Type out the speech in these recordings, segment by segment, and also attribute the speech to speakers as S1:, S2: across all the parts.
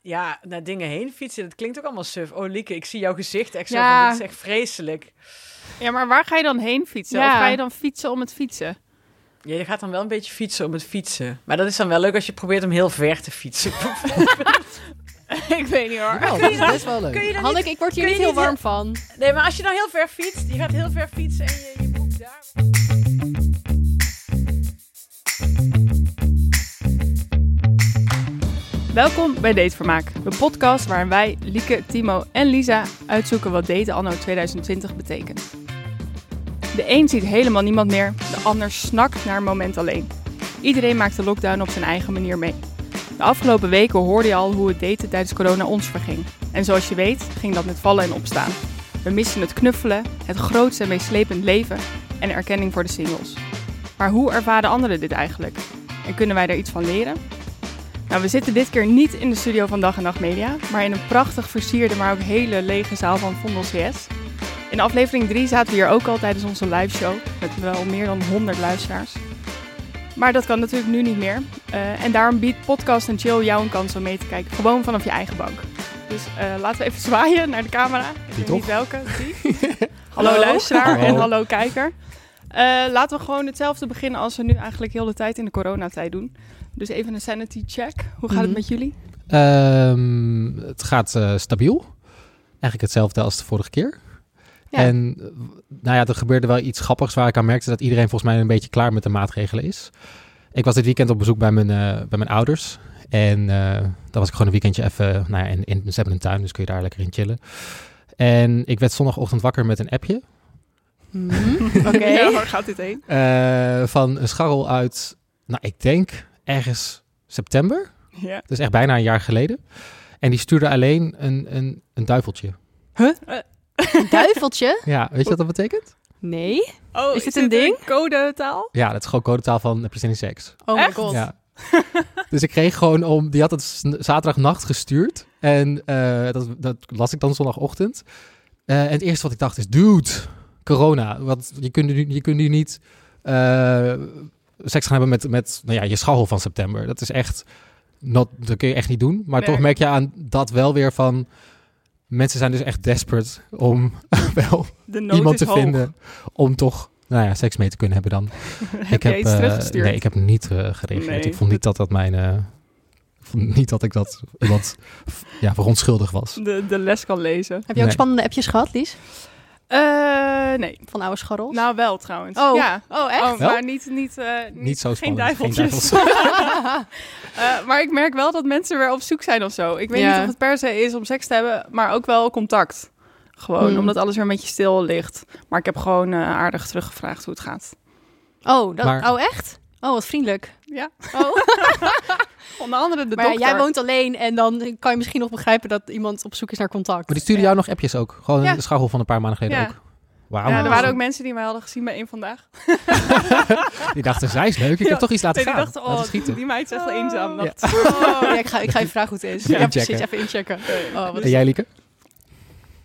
S1: ja, naar dingen heen fietsen, dat klinkt ook allemaal suf. Oh, Lieke, ik zie jouw gezicht echt zo.
S2: Ja.
S1: van, Dit is echt vreselijk.
S3: Ja, maar waar ga je dan heen fietsen?
S2: Ja.
S3: Of ga je dan fietsen om het fietsen?
S1: Ja, je gaat dan wel een beetje fietsen om het fietsen. Maar dat is dan wel leuk als je probeert om heel ver te fietsen.
S3: ik weet niet hoor.
S4: Nou, dat is best wel leuk.
S1: Kun je dan niet-
S2: Hanneke, ik word hier
S1: kun
S2: niet
S1: je
S2: heel
S1: niet-
S2: warm van.
S1: Nee, maar als je dan heel ver fietst, je gaat heel ver fietsen en je, je boekt daar.
S3: Welkom bij Datevermaak, de podcast waarin wij, Lieke, Timo en Lisa uitzoeken wat daten anno 2020 betekent. De een ziet helemaal niemand meer, de ander snakt naar een moment alleen. Iedereen maakt de lockdown op zijn eigen manier mee. De afgelopen weken hoorde je al hoe het daten tijdens corona ons verging. En zoals je weet, ging dat met vallen en opstaan. We missen het knuffelen, het grootste en meeslepend leven en erkenning voor de singles. Maar hoe ervaren anderen dit eigenlijk? En kunnen wij daar iets van leren? Nou, we zitten dit keer niet in de studio van Dag en Nacht Media, maar in een prachtig versierde, maar ook hele lege zaal van Vondel CS. In aflevering 3 zaten we hier ook al tijdens onze liveshow, met wel meer dan 100 luisteraars. Maar dat kan natuurlijk nu niet meer. eh, en daarom biedt Podcast en Chill jou een kans om mee te kijken, gewoon vanaf je eigen bank. Dus eh, laten we even zwaaien naar de camera. Ik weet
S4: toch?
S3: niet welke. Die. hallo luisteraar en
S4: Hallo.
S3: hallo kijker. Eh, laten we gewoon hetzelfde beginnen als we nu eigenlijk heel de tijd in de coronatijd doen. Dus even een sanity check. Hoe gaat
S2: Mhm.
S3: het met jullie?
S4: Ehm, het gaat eh, stabiel. Eigenlijk hetzelfde als de vorige keer.
S3: Ja.
S4: En eh, nou ja, er gebeurde wel iets grappigs waar ik aan merkte dat iedereen volgens mij een beetje klaar met de maatregelen is. Ik was dit weekend op bezoek bij mijn, eh, bij mijn ouders. En eh dan was ik gewoon een weekendje even, nou ja, in, in, ze hebben een tuin, dus kun je daar lekker in chillen. En ik werd zondagochtend wakker met een appje
S3: Oké.
S2: Ja,
S3: waar gaat dit heen?
S4: eh, van een scharrel uit, nou ik denk ergens september.
S3: Ja.
S4: Dat is echt bijna een jaar geleden. En die stuurde alleen een, een, een duiveltje. Hm?
S2: Een duiveltje?
S4: Ja, weet je wat dat betekent?
S2: Nee.
S3: Oh,
S2: Is dit een ding?
S3: Code taal?
S4: Ja, dat is gewoon codetaal van heb je zin in seks.
S2: Oh
S3: Echt?
S2: god.
S4: Ja. dus ik kreeg gewoon om... Die had het s- zaterdagnacht gestuurd. En eh, dat, dat las ik dan zondagochtend. Eh, en het eerste wat ik dacht is... Dude, corona. Want je kunt nu, je kunt nu niet eh, seks gaan hebben met, met nou ja, je scharrel van september. Dat is echt... Not, dat kun je echt niet doen. Maar
S3: Nee.
S4: toch merk je aan dat wel weer van... Mensen zijn dus echt desperate om wel
S3: De nood
S4: iemand
S3: is
S4: te
S3: hoog.
S4: vinden om toch nou ja, seks mee te kunnen hebben dan.
S3: Heb jij iets
S4: eh,
S3: teruggestuurd?
S4: Nee, ik heb niet eh, gereageerd.
S3: Nee,
S4: ik vond niet dat dat mijn... eh, ik vond niet dat ik dat wat ja, verontschuldigd was.
S3: De, de les kan lezen.
S2: Heb je ook
S4: Nee.
S2: spannende appjes gehad, Lies?
S3: Eh, nee.
S2: Van oude scharrels?
S3: Nou, wel trouwens.
S2: Oh.
S3: Ja.
S2: oh, echt?
S3: Oh,
S4: Wel?
S3: maar niet, niet, eh, niet,
S4: Niet zo
S3: geen
S4: spannend. Geen
S3: duiveltjes. Eh, maar ik merk wel dat mensen weer op zoek zijn of zo. Ik weet
S2: Ja.
S3: niet of het per se is om seks te hebben, maar ook wel contact. Gewoon,
S2: Hmm.
S3: omdat alles weer een beetje stil ligt. Maar ik heb gewoon eh, aardig teruggevraagd hoe het gaat.
S2: Oh, dat,
S4: Maar-
S2: oh, echt? Oh, wat vriendelijk.
S3: Ja.
S2: Oh.
S3: Onder andere de
S2: maar ja,
S3: dokter.
S2: jij woont alleen en dan kan je misschien nog begrijpen dat iemand op zoek is naar contact.
S4: Maar die stuurde jou nog appjes ook. Gewoon
S3: Ja.
S4: een scharrel van een paar maanden geleden
S3: Ja.
S4: ook. Wauw.
S3: Ja, er
S2: Oh.
S3: waren ook mensen die mij hadden gezien bij één vandaag.
S4: Die dachten, zij is leuk. Ik
S3: Ja.
S4: heb toch iets laten
S3: Nee, die
S4: gaan.
S3: dachten,
S4: Laten
S3: oh,
S4: schieten.
S3: die meid is echt wel eenzaam.
S4: Ja.
S3: Dat-
S2: Oh, ja, ik, ga, ik ga even vragen hoe het is.
S4: Even
S2: Ja,
S4: inchecken.
S2: precies, even inchecken. Oh, wat
S4: En jij, Lieke?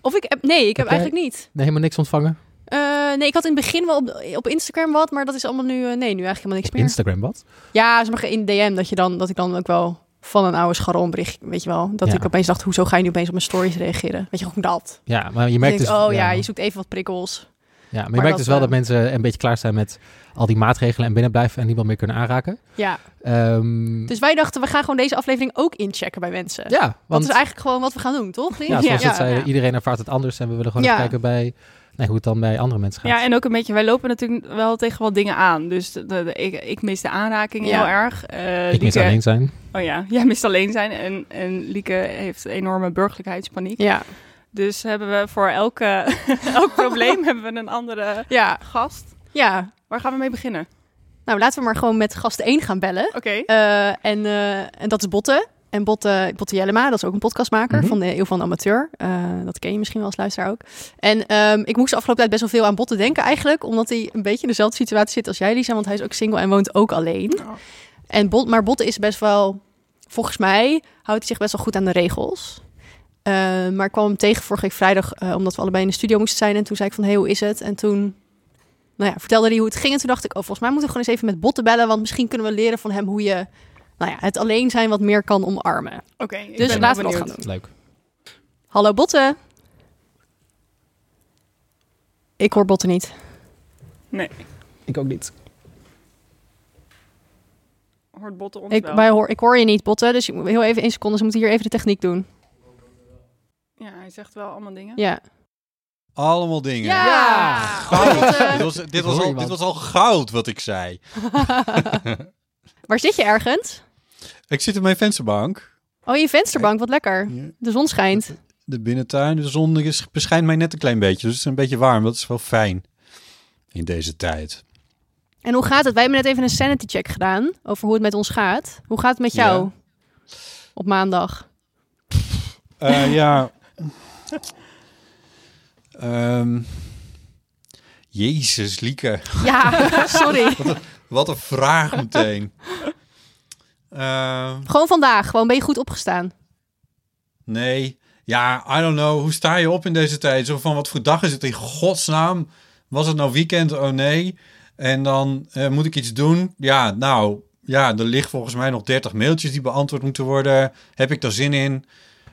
S2: Of ik heb, nee, ik heb
S4: Heb jij-
S2: eigenlijk niet.
S4: Nee, helemaal niks ontvangen?
S2: Eh, nee, ik had in het begin wel op, op Instagram wat, maar dat is allemaal nu, eh, nee, nu eigenlijk helemaal niks
S4: Op
S2: meer.
S4: Instagram wat?
S2: ja, ze mag in DM dat, je dan, dat ik dan ook wel van een oude scharrel een bericht, weet je wel. Dat
S4: Ja.
S2: ik opeens dacht, hoezo ga je nu opeens op mijn stories reageren? Weet je, gewoon dat.
S4: Ja, maar je merkt
S2: Ik denk,
S4: dus...
S2: oh ja, je zoekt even wat prikkels.
S4: Ja, maar
S2: Maar
S4: je merkt
S2: dat,
S4: dus wel
S2: eh,
S4: dat mensen een beetje klaar zijn met al die maatregelen en binnen blijven en niemand meer kunnen aanraken.
S2: Ja,
S4: Ehm,
S2: dus wij dachten, we gaan gewoon deze aflevering ook inchecken bij
S3: eh,
S2: mensen.
S4: ja,
S2: Dat
S4: want
S2: is eigenlijk gewoon wat we gaan doen, toch? Lien?
S4: ja, zoals het zei,
S2: ja.
S4: iedereen ervaart het anders en we willen gewoon
S2: Ja.
S4: even kijken bij nee, hoe het dan bij andere mensen gaat.
S3: Ja, en ook een beetje, wij lopen natuurlijk wel tegen wat dingen aan. Dus de, de- ik, ik mis de aanraking
S2: Ja.
S3: heel erg. Eh,
S4: ik mis
S3: Lieke-
S4: alleen zijn.
S3: Oh ja, jij mist alleen zijn. En, en Lieke heeft enorme burgerlijkheidspaniek.
S2: Ja,
S3: Dus hebben we voor elke, elk probleem hebben we een andere
S2: ja,
S3: gast.
S2: ja.
S3: Waar gaan we mee beginnen?
S2: Nou, laten we maar gewoon met gast 1 gaan bellen.
S3: Oké.
S2: Eh, en, eh, en dat is Botte. En Botte, Botte Jellema, dat is ook een podcastmaker
S4: Mhm.
S2: van de Eeuw van de Amateur. Eh, dat ken je misschien wel als luisteraar ook. En ehm, ik moest de afgelopen tijd best wel veel aan Botte denken eigenlijk. Omdat hij een beetje in dezelfde situatie zit als jij, Lisa. Want hij is ook single en woont ook alleen.
S3: Oh.
S2: En Bot, maar Botte is best wel... Volgens mij houdt hij zich best wel goed aan de regels. Eh, maar ik kwam hem tegen vorige week vrijdag, eh, omdat we allebei in de studio moesten zijn. En toen zei ik van, hey, hoe is het? En toen nou ja, vertelde hij hoe het ging. En toen dacht ik, oh, volgens mij moeten we gewoon eens even met Botte bellen. Want misschien kunnen we leren van hem hoe je nou ja, het alleen zijn wat meer kan omarmen.
S3: Oké, ik
S2: Dus
S3: ben
S2: laten we
S3: heel
S2: dat gaan
S3: benieuwd.
S2: doen.
S4: Leuk.
S2: Hallo botten. Ik hoor botten niet.
S4: Ik ook niet.
S3: Hoort botten ons
S2: Ik,
S3: wel?
S2: wij hoor, ik hoor je niet botten, dus je moet heel even één seconde. Ze moeten hier even de techniek doen.
S3: Ja, hij zegt wel allemaal dingen.
S2: Ja.
S5: Allemaal dingen.
S2: Ja! eh,
S5: Goud.
S2: Botten.
S5: dit, was, dit, was
S4: hoor
S5: al,
S4: iemand.
S5: dit was al goud wat ik zei.
S2: Waar zit je ergens?
S5: Ik zit in mijn vensterbank.
S2: Oh, in je vensterbank. Wat lekker. De zon schijnt.
S5: De binnentuin, de zon is, beschijnt mij net een klein beetje. Dus het is een beetje warm. Dat is wel fijn in deze tijd.
S2: En hoe gaat het? Wij hebben net even een sanity check gedaan over hoe het met ons gaat. Hoe gaat het met jou
S5: Ja.
S2: op maandag?
S5: Eh, ja. Ehm, Jezus, Lieke.
S2: Ja, sorry.
S5: Wat een vraag meteen. Ehm,
S2: Gewoon vandaag. Gewoon ben je goed opgestaan.
S5: nee. Ja, I don't know. Hoe sta je op in deze tijd? Zo van, wat voor dag is het in godsnaam? Was het nou weekend? Oh nee. En dan eh, moet ik iets doen? Ja, nou. Ja, er ligt volgens mij nog 30 mailtjes die beantwoord moeten worden. Heb ik daar zin in?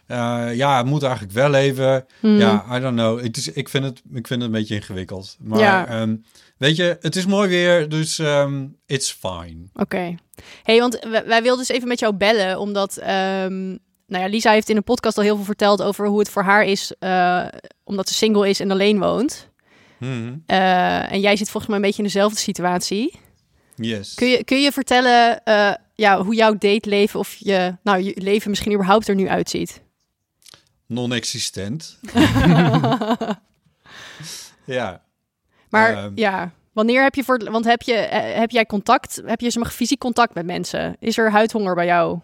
S5: Eh, ja, het moet eigenlijk wel even.
S2: Hmm.
S5: Ja, I don't know. Het is, ik, vind het, ik vind het een beetje ingewikkeld. Maar
S2: Ja.
S5: ehm, weet je, het is mooi weer, dus ehm, it's fine.
S2: Oké. hey, want w- wij wilden dus even met jou bellen, omdat... ehm, nou ja, Lisa heeft in een podcast al heel veel verteld over hoe het voor haar is, eh, omdat ze single is en alleen woont.
S5: Mhm.
S2: Eh, en jij zit volgens mij een beetje in dezelfde situatie.
S5: Yes.
S2: Kun je, kun je vertellen eh, ja, hoe jouw dateleven of je, nou, je leven misschien überhaupt er nu uitziet?
S5: Non-existent. ja.
S2: Maar
S5: Ehm.
S2: ja, wanneer heb je voor... Want heb, je, eh, heb jij contact, heb je zeg maar fysiek contact met mensen? Is er huidhonger bij jou?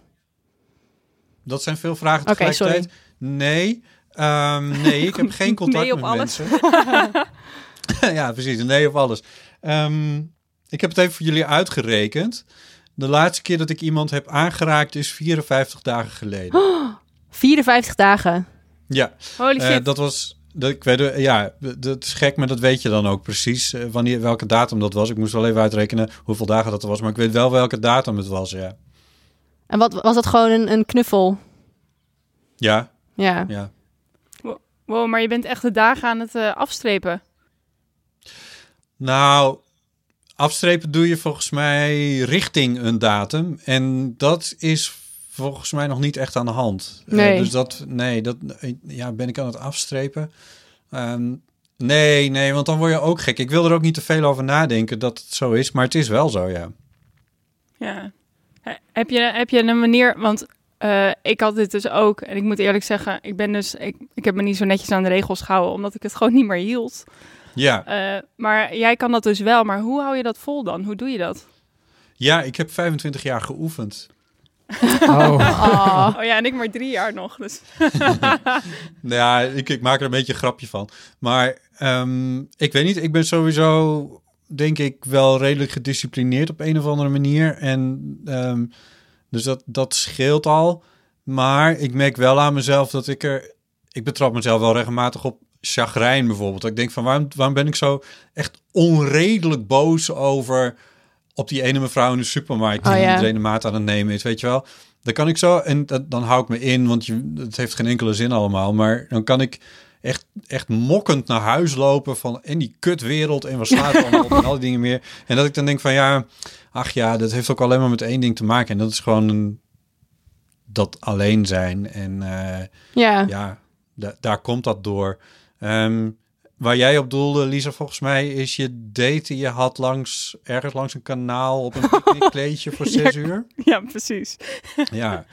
S5: Dat zijn veel vragen
S2: Oké,
S5: tegelijkertijd. Nee. Ehm, nee, ik heb geen contact
S3: Nee op
S5: met
S3: alles.
S5: mensen. ja, precies. Nee op alles. Ehm, ik heb het even voor jullie uitgerekend. De laatste keer dat ik iemand heb aangeraakt is 54 dagen geleden.
S2: 54 dagen.
S5: Ja,
S3: Holy
S5: eh,
S3: shit.
S5: dat was... Dat, ik weet, eh, ja, d- dat is gek, maar dat weet je dan ook precies. eh, wanneer, welke datum dat was. Ik moest wel even uitrekenen hoeveel dagen dat er was. Maar ik weet wel welke datum het was, ja.
S2: En wat, was dat gewoon een, een knuffel?
S5: Ja,
S2: Ja.
S5: ja.
S3: Wow, maar je bent echt de dagen aan het eh, afstrepen.
S5: Nou, afstrepen doe je volgens mij richting een datum. En dat is volgens mij nog niet echt aan de hand. Eh,
S2: Nee.
S5: dus dat, nee, dat, ja, ben ik aan het afstrepen? Ehm, nee, nee, want dan word je ook gek. Ik wil er ook niet te veel over nadenken dat het zo is, maar het is wel zo, ja.
S3: Ja. He- Heb je, heb je een manier, want eh, ik had dit dus ook. En ik moet eerlijk zeggen, ik ben dus, ik, ik heb me niet zo netjes aan de regels gehouden, omdat ik het gewoon niet meer hield.
S5: Ja,
S3: Eh, maar jij kan dat dus wel, maar hoe hou je dat vol dan? Hoe doe je dat?
S5: ja ik heb 25 jaar geoefend.
S4: Oh.
S2: Oh.
S3: Oh ja, en ik maar drie jaar nog. Dus.
S5: Nou Ja, ik, ik maak er een beetje een grapje van. Maar ehm, ik weet niet, ik ben sowieso, denk ik, wel redelijk gedisciplineerd op een of andere manier. En ehm, dus dat, dat scheelt al. Maar ik merk wel aan mezelf dat ik er. Ik betrap mezelf wel regelmatig op chagrijn bijvoorbeeld. Dat Ik denk van waarom, waarom ben ik zo echt onredelijk boos over. op die ene mevrouw in de supermarkt. die
S2: Oh ja.
S5: iedereen de maat aan het nemen is, weet je wel. Dan kan ik zo. En dat, dan hou ik me in, want je, het heeft geen enkele zin allemaal. Maar dan kan ik. Echt, echt mokkend naar huis lopen van en die kutwereld en wat slaat er allemaal op en al die dingen meer. En dat ik dan denk van ja, ach ja, dat heeft ook alleen maar met één ding te maken. En dat is gewoon een, dat alleen zijn. En eh,
S2: Ja.
S5: ja, da- daar komt dat door. Ehm, waar jij op doelde, Lisa, volgens mij is je date die je had langs ergens langs een kanaal op een picknickkleedje voor zes uur.
S3: Ja, precies.
S5: Ja,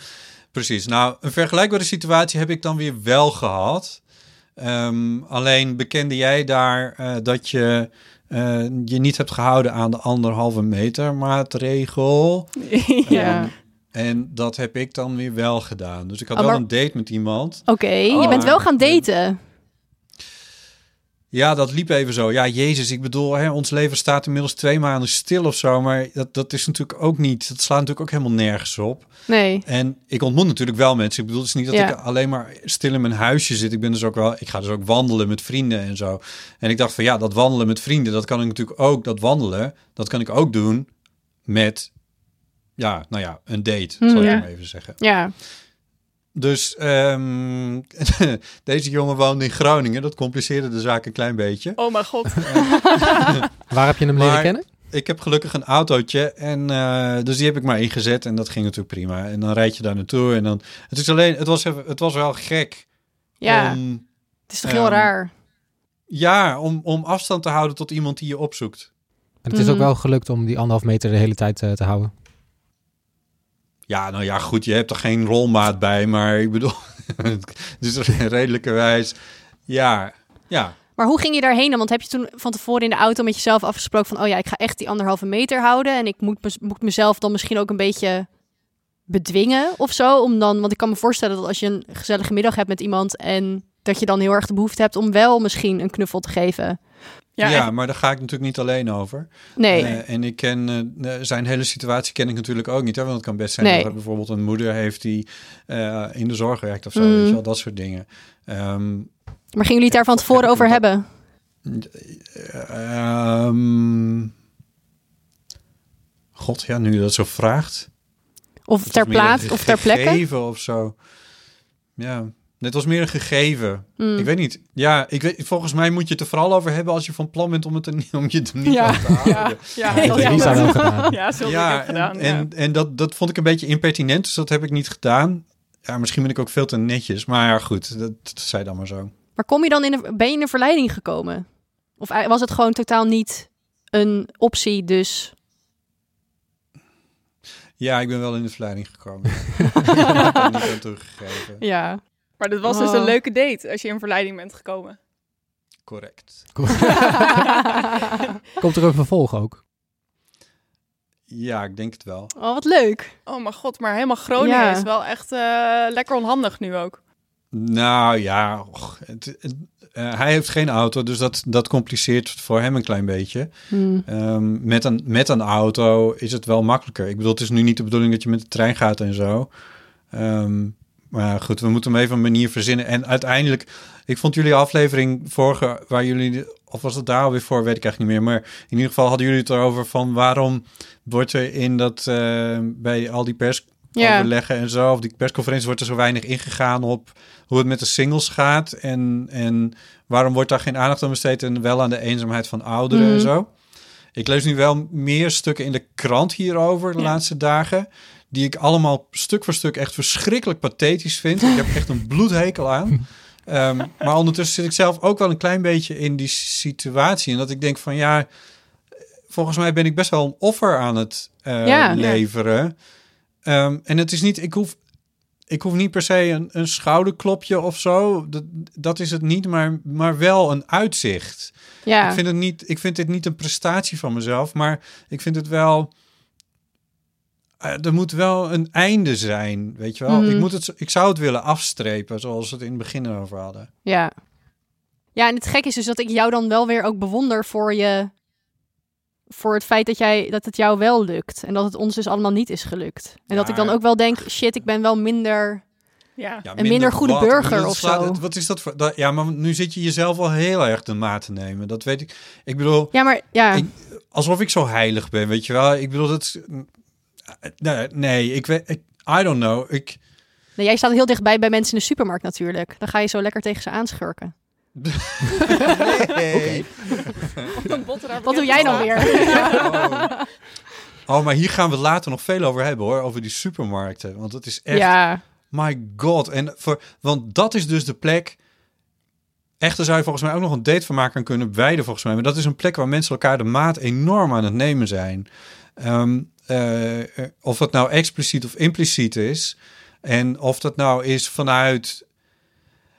S5: precies. Nou, een vergelijkbare situatie heb ik dan weer wel gehad. Ehm, alleen bekende jij daar eh, dat je eh, je niet hebt gehouden aan de anderhalve meter maatregel.
S3: ja.
S2: Oké,
S5: En dat heb ik dan weer wel gedaan. Dus ik had
S2: Oh,
S5: wel
S2: maar-
S5: een date met iemand.
S2: je
S3: Oh.
S2: bent wel gaan daten.
S5: Ja, dat liep even zo. Ja, Jezus, ik bedoel, hè, ons leven staat inmiddels twee maanden stil of zo. Maar dat, dat is natuurlijk ook niet. Dat slaat natuurlijk ook helemaal nergens op.
S2: Nee.
S5: En ik ontmoet natuurlijk wel mensen. Ik bedoel, het is niet dat
S2: Ja.
S5: ik alleen maar stil in mijn huisje zit. Ik ben dus ook wel. Ik ga dus ook wandelen met vrienden en zo. En ik dacht van ja, dat wandelen met vrienden, dat kan ik natuurlijk ook. Dat wandelen, dat kan ik ook doen met ja, nou ja, een date,
S2: Mhm.
S5: zal ik
S2: Ja.
S5: maar even zeggen.
S2: Ja.
S5: Dus ehm, deze jongen woonde in Groningen. Dat compliceerde de zaak een klein beetje.
S3: Oh mijn god.
S4: Waar heb je hem
S5: Maar-
S4: leren kennen?
S5: Ik heb gelukkig een autootje. En, eh, dus die heb ik maar ingezet. En dat ging natuurlijk prima. En dan rijd je daar naartoe. En dan, het, is alleen, het, was, even, het was wel gek.
S2: Ja.
S5: Om,
S2: het is toch heel
S5: ehm,
S2: raar.
S5: ja, om, om afstand te houden tot iemand die je opzoekt.
S4: En het is ook
S2: Mhm.
S4: wel gelukt om die anderhalf meter de hele tijd eh, te houden.
S5: Ja, nou ja, goed. Je hebt er geen rolmaat bij. Maar ik bedoel, dus het is redelijkerwijs. Ja, ja.
S2: Maar hoe ging je daarheen dan? Want heb je toen van tevoren in de auto met jezelf afgesproken van... oh ja, ik ga echt die anderhalve meter houden... en ik moet, mez- moet mezelf dan misschien ook een beetje bedwingen of zo? Om dan, want ik kan me voorstellen dat als je een gezellige middag hebt met iemand... en dat je dan heel erg de behoefte hebt om wel misschien een knuffel te geven.
S5: Ja,
S3: Ja, echt.
S5: maar daar ga ik natuurlijk niet alleen over.
S2: Nee,
S5: Eh, en ik ken eh, zijn hele situatie ken ik natuurlijk ook niet. Hè? Want het kan best zijn
S2: Nee.
S5: dat er bijvoorbeeld een moeder heeft die eh, in de zorg werkt of zo.
S2: Mm.
S5: Weet je wel, dat soort dingen. Ehm,
S2: maar gingen jullie het daar van tevoren over hebben?
S5: ehm, God, ja, nu je dat zo vraagt.
S2: Of
S5: Het
S2: ter
S5: was meer een
S2: plaatse of ter plekke?
S5: Gegeven of zo. Ja, dit was meer een gegeven.
S2: Mm.
S5: Ik weet niet. Ja, ik weet, volgens mij moet je het er vooral over hebben als je van plan bent om het er, niet- om je het er niet
S3: Ja.
S5: aan te houden.
S3: Ja, ja,
S4: Dat
S3: heel
S4: heeft Lisa Dus wel
S3: jammer.
S4: gedaan.
S3: Ja, zo heb ik
S5: Ja,
S3: ook gedaan.
S5: en,
S3: ja.
S5: en, en dat, dat vond ik een beetje impertinent, dus dat heb ik niet gedaan. Ja, misschien ben ik ook veel te netjes, maar ja, goed, dat, dat zei dan maar zo.
S2: Maar kom je dan in een, ben je in een verleiding gekomen? Of ei- was het gewoon totaal niet een optie, dus...
S5: Ja, ik ben wel in de verleiding gekomen. ik heb daar niet aan toegegeven.
S2: Ja.
S3: Maar dat was dus een
S2: Oh.
S3: leuke date als je in verleiding bent gekomen.
S5: Correct.
S4: Komt er een vervolg ook?
S5: Ja, ik denk het wel.
S2: Oh, wat leuk.
S3: Oh mijn god, maar helemaal Groningen
S2: Ja.
S3: is wel echt eh, lekker onhandig nu ook.
S5: Nou ja, och, het, het- eh, hij heeft geen auto, dus dat, dat compliceert voor hem een klein beetje.
S2: Hmm.
S5: Ehm, met, een, met een auto is het wel makkelijker. Ik bedoel, het is nu niet de bedoeling dat je met de trein gaat en zo. Ehm, maar goed, we moeten hem even een manier verzinnen. En uiteindelijk, ik vond jullie aflevering vorige, waar jullie, de- of was het daar alweer voor, weet ik eigenlijk niet meer. Maar in ieder geval hadden jullie het erover van waarom wordt er in dat, eh, bij al die persoverleggen en zo, of die persconferentie, wordt er zo weinig ingegaan op hoe het met de singles gaat. En, en waarom wordt daar geen aandacht aan besteed en wel aan de eenzaamheid van ouderen en
S2: Mhm.
S5: zo. Ik lees nu wel meer stukken in de krant hierover de
S3: Ja.
S5: laatste dagen. Die ik allemaal stuk voor stuk echt verschrikkelijk pathetisch vind. Ik heb echt een bloedhekel aan. Ehm, maar ondertussen zit ik zelf ook wel een klein beetje in die situatie. En dat ik denk van ja, volgens mij ben ik best wel een offer aan het eh,
S2: Ja.
S5: leveren. Ehm, en het is niet, ik hoef, ik hoef niet per se een, een schouderklopje of zo. Dat, dat is het niet, maar, maar wel een uitzicht.
S2: Ja.
S5: Ik, vind het niet, ik vind dit niet een prestatie van mezelf, maar ik vind het wel. eh, Er moet wel een einde zijn, weet je wel.
S2: Mhm.
S5: Ik, moet het, ik zou het willen afstrepen, zoals we het in het begin over hadden.
S2: Ja. Ja, en het gek is dus dat ik jou dan wel weer ook bewonder voor je... Voor het feit dat, jij, dat het jou wel lukt. En dat het ons dus allemaal niet is gelukt. En dat ik dan
S5: Maar-
S2: ook wel denk, shit, ik ben wel minder...
S3: Ja.
S5: Ja,
S2: Een minder goede
S5: plat. Ik
S2: burger
S5: bedoel, het
S2: of
S5: slaat-
S2: zo.
S5: het- Wat is dat voor... dat- ja, maar nu zit je jezelf al heel erg de maat te nemen. Dat weet ik. Ik bedoel,
S2: Ja, maar ja.
S5: Ik- alsof ik zo heilig ben, weet je wel. Ik bedoel, dat... is- Nee, nee ik weet... ik- I don't know. Ik...
S2: Nee, jij staat heel dichtbij bij mensen in de supermarkt natuurlijk. Dan ga je zo lekker tegen ze aanschurken. Wat doe jij dan weer?
S5: Oh. Oh, maar hier gaan we het later nog veel over hebben, hoor. Over die supermarkten. Want het is echt...
S2: Ja.
S5: My god. En voor, want dat is dus de plek. Echter zou je volgens mij ook nog een date van maken en kunnen wijden, volgens mij. Maar dat is een plek waar mensen elkaar de maat enorm aan het nemen zijn. Ehm, eh, eh, of dat nou expliciet of impliciet is. En of dat nou is vanuit.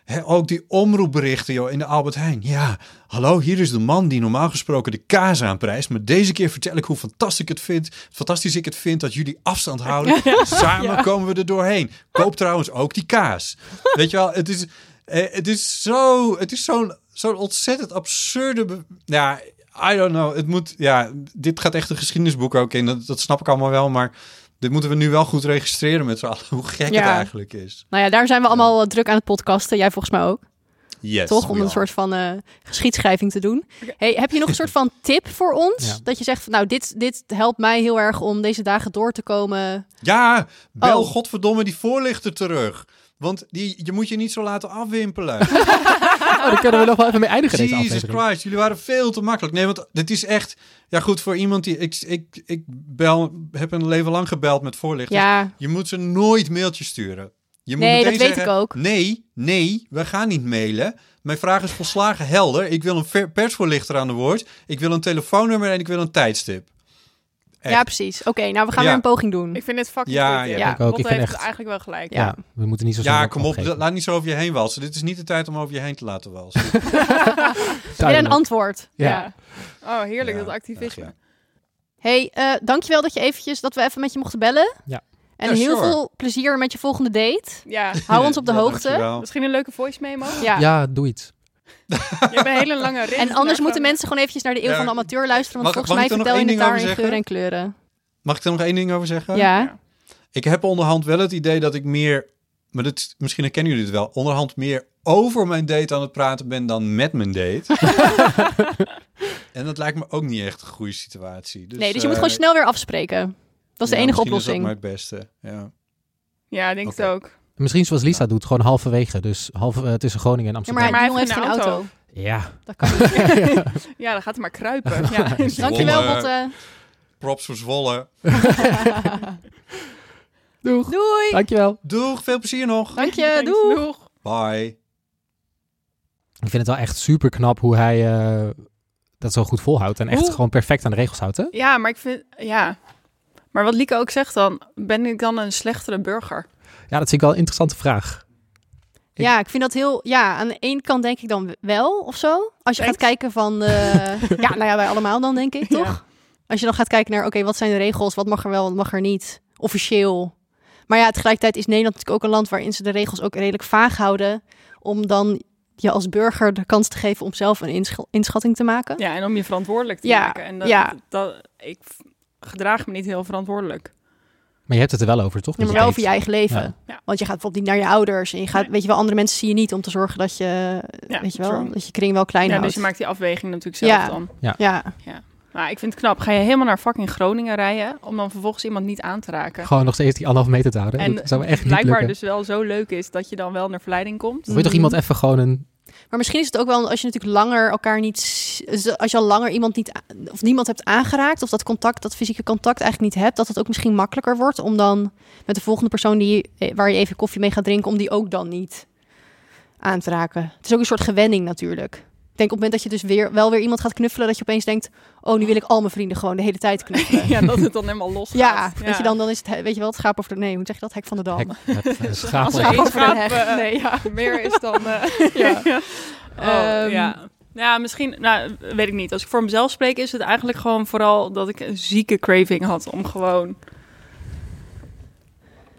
S5: hè, ook die omroepberichten joh, in de Albert Heijn. Ja, hallo, hier is de man die normaal gesproken de kaas aanprijst. Maar deze keer vertel ik hoe fantastisch ik het vind, fantastisch ik het vind dat jullie afstand houden. Samen komen we er doorheen. Koop trouwens ook die kaas. Weet je wel, het is, eh, het is zo, het is zo'n zo'n ontzettend absurde. be- ja, I don't know. Het moet, ja, dit gaat echt een geschiedenisboek ook in. Dat, dat snap ik allemaal wel, maar dit moeten we nu wel goed registreren met z'n allen. Hoe gek
S2: Ja.
S5: het eigenlijk is.
S2: Nou ja, daar zijn we allemaal eh, druk aan het podcasten. Jij volgens mij ook.
S5: Yes,
S2: toch? Om
S5: we
S2: een
S5: are.
S2: soort van eh, geschiedschrijving te doen. Hey, heb je nog een soort van tip voor ons?
S4: Ja.
S2: Dat je zegt, van, nou, dit, dit helpt mij heel erg om deze dagen door te komen.
S5: Ja, bel
S2: Oh.
S5: godverdomme die voorlichter terug. Want die, je moet je niet zo laten afwimpelen.
S4: Oh, daar kunnen we nog wel even mee eindigen deze
S5: Jesus
S4: aflevering.
S5: Christ, jullie waren veel te makkelijk. Nee, want dit is echt... Ja goed, voor iemand die... Ik, ik, ik bel, heb een leven lang gebeld met voorlichters.
S2: Ja,
S5: Je moet ze nooit mailtjes sturen.
S2: Nee,
S5: Je moet meteen
S2: dat weet
S5: zeggen,
S2: ik ook.
S5: Nee, nee, we gaan niet mailen. Mijn vraag is volslagen helder. Ik wil een ver- persvoorlichter aan de woord. Ik wil een telefoonnummer en ik wil een tijdstip. Echt.
S2: ja precies. Oké, nou, we gaan
S5: Ja.
S2: weer een poging doen.
S3: Ik vind het fucking
S5: Ja,
S3: goed.
S5: ja,
S3: dit.
S2: Ja. ik
S4: ook.
S3: Lotte
S4: Ik vind
S3: heeft
S4: echt-
S3: eigenlijk wel gelijk.
S4: Ja, we moeten niet zo snel
S5: Ja, kom op,
S4: opgeven.
S5: laat niet zo over je heen walsen. Dit is niet de tijd om over je heen te laten walsen.
S2: Weer een
S4: Duidelijk.
S2: antwoord.
S4: Ja.
S3: Oh, heerlijk,
S5: Ja,
S3: dat activisme.
S5: echt,
S2: Hey, eh, dankjewel dat je eventjes, dat we even met je mochten bellen.
S4: Ja.
S2: En
S5: Ja,
S2: heel
S5: sure.
S2: veel plezier met je volgende date.
S3: ja.
S2: Hou ons op de
S5: Ja,
S2: hoogte.
S5: dankjewel.
S3: misschien een leuke voice memo.
S2: Ja.
S4: Ja, doe iets.
S3: Je hebt een hele lange rit.
S2: En anders
S3: naar
S2: moeten
S3: van-
S2: mensen gewoon eventjes naar de Eeuw
S5: Ja,
S2: van de Amateur luisteren. Want
S5: mag-
S2: volgens mij
S5: mag ik er nog
S2: vertel je het
S5: één
S2: daar in
S5: ding over
S2: geuren en kleuren.
S5: Mag ik er nog één ding over zeggen?
S2: Ja.
S5: Ik heb onderhand wel het idee dat ik meer, maar dit, misschien herkennen jullie het wel, onderhand meer over mijn date aan het praten ben dan met mijn date. en dat lijkt me ook niet echt een goede situatie. Dus,
S2: Nee, dus je moet
S5: eh,
S2: gewoon snel weer afspreken. Dat is de
S5: ja,
S2: enige
S5: misschien
S2: oplossing.
S5: Is dat maar het beste. Ja.
S3: Ja, ik denk het
S5: Oké.
S3: ook.
S4: Misschien zoals Lisa doet, gewoon halverwege. Dus half, eh, tussen Groningen en
S2: Ja,
S4: Amsterdam.
S2: maar,
S4: Ja,
S3: Maar
S2: maar heeft
S3: hij
S2: geen auto. Dat kan niet.
S3: Ja, dan gaat het maar kruipen. Ja.
S2: Dankjewel,
S5: Zwolle.
S2: Botte.
S5: Props voor Zwolle.
S4: Doeg.
S2: Doei.
S4: Dankjewel.
S5: Doeg, veel plezier nog.
S2: Dank je.
S3: Thanks,
S2: Doei.
S3: doeg.
S5: Bye.
S4: Ik vind het wel echt super knap hoe hij eh, dat zo goed volhoudt. En echt
S3: Hoe-
S4: gewoon perfect aan de regels houdt. Hè?
S3: Ja, maar ik vind... Ja. Maar wat Lieke ook zegt dan, ben ik dan een slechtere burger?
S4: Ja, dat vind ik wel een interessante vraag. Ik-
S2: Ja, ik vind dat heel... Ja, aan de ene kant denk ik dan wel of zo. Als je gaat
S3: Thanks.
S2: kijken van... eh, ja, nou ja, wij allemaal dan denk ik,
S3: Ja.
S2: toch? Als je dan gaat kijken naar, oké, wat zijn de regels? Wat mag er wel, wat mag er niet? Officieel. Maar ja, tegelijkertijd is Nederland natuurlijk ook een land... waarin ze de regels ook redelijk vaag houden... om dan je als burger de kans te geven om zelf een insch- inschatting te maken.
S3: Ja, en om je verantwoordelijk te
S2: Ja,
S3: maken. En dat,
S2: ja.
S3: dat, ik v- gedraag me niet heel verantwoordelijk.
S4: Maar je hebt het er wel over, toch?
S2: Ja, maar
S4: Met
S2: wel
S4: je
S2: over je eigen
S4: date.
S2: leven.
S4: Dus Ja.
S3: Ja.
S2: Want je gaat bijvoorbeeld niet naar je ouders. En je gaat,
S3: Nee.
S2: weet je wel, andere mensen zie je niet om te zorgen dat je,
S3: Ja,
S2: weet je wel,
S3: true.
S2: dat je kring wel klein
S3: Ja,
S2: houdt.
S3: dus je maakt die afweging natuurlijk zelf
S2: Ja.
S3: dan.
S2: Ja,
S3: Maar ik vind het knap. Ga je helemaal naar fucking Groningen rijden om dan vervolgens iemand niet aan te raken?
S4: Gewoon nog steeds die anderhalf meter te houden.
S3: en
S4: dat zou me echt niet
S3: blijkbaar
S4: lukken.
S3: dus wel zo leuk is dat je dan wel naar verleiding komt.
S2: dus-
S4: Wil je toch iemand
S2: Mm.
S4: even gewoon een...
S2: maar misschien is het ook wel als je natuurlijk langer elkaar niet, s- dus als je al langer iemand niet a- of niemand hebt aangeraakt of dat contact, dat fysieke contact eigenlijk niet hebt, dat het ook misschien makkelijker wordt om dan met de volgende persoon die je- waar je even koffie mee gaat drinken, om die ook dan niet aan te raken. Het is ook een soort gewenning natuurlijk. Ik denk op het moment dat je dus weer wel weer iemand gaat knuffelen, dat je opeens denkt, oh nu wil ik al mijn vrienden gewoon de hele tijd knuffelen.
S3: ja, dat het dan helemaal los gaat.
S2: Ja, weet je dan, dan is het, he- weet je wel, het schaap over de, nee, hoe zeg je dat, hek van de dam.
S4: Hek, eh, het- een
S3: Als
S4: schaap-
S3: er
S2: Ja.
S3: één
S2: Over een
S3: schaap,
S2: heg.
S3: eh, nee, ja, meer is dan... eh,
S2: Ja.
S3: Oh,
S2: Ehm,
S3: ja. ja, misschien, nou, weet ik niet. Als ik voor mezelf spreek, is het eigenlijk gewoon vooral dat ik een zieke craving had om gewoon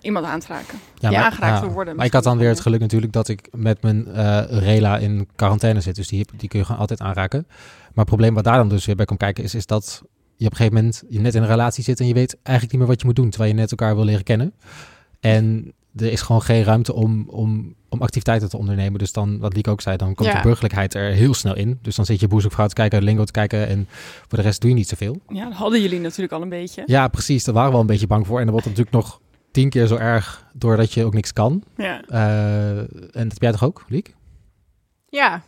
S3: iemand aan te raken.
S4: Ja,
S3: Ja, aangeraakt te worden
S4: Maar ik had dan
S3: misschien.
S4: weer het geluk natuurlijk dat ik met mijn eh, rela in quarantaine zit. Dus die, heb- die kun je gewoon altijd aanraken. Maar het probleem wat daar dan dus weer bij komt kijken is, is dat je op een gegeven moment je net in een relatie zit en je weet eigenlijk niet meer wat je moet doen. Terwijl je net elkaar wil leren kennen. En er is gewoon geen ruimte om, om, om activiteiten te ondernemen. Dus dan, wat Lieke ook zei, dan komt
S2: Ja.
S4: de burgerlijkheid er heel snel in. Dus dan zit je boezemvrouw te kijken, lingo te kijken en voor de rest doe je niet zoveel.
S3: Ja, dat hadden jullie natuurlijk al een beetje.
S4: Ja, precies. Daar waren we wel een beetje bang voor. En dan wordt het natuurlijk nog tien keer zo erg doordat je ook niks kan.
S3: Ja.
S4: Eh, en dat heb jij toch ook, Liek?
S2: Ja.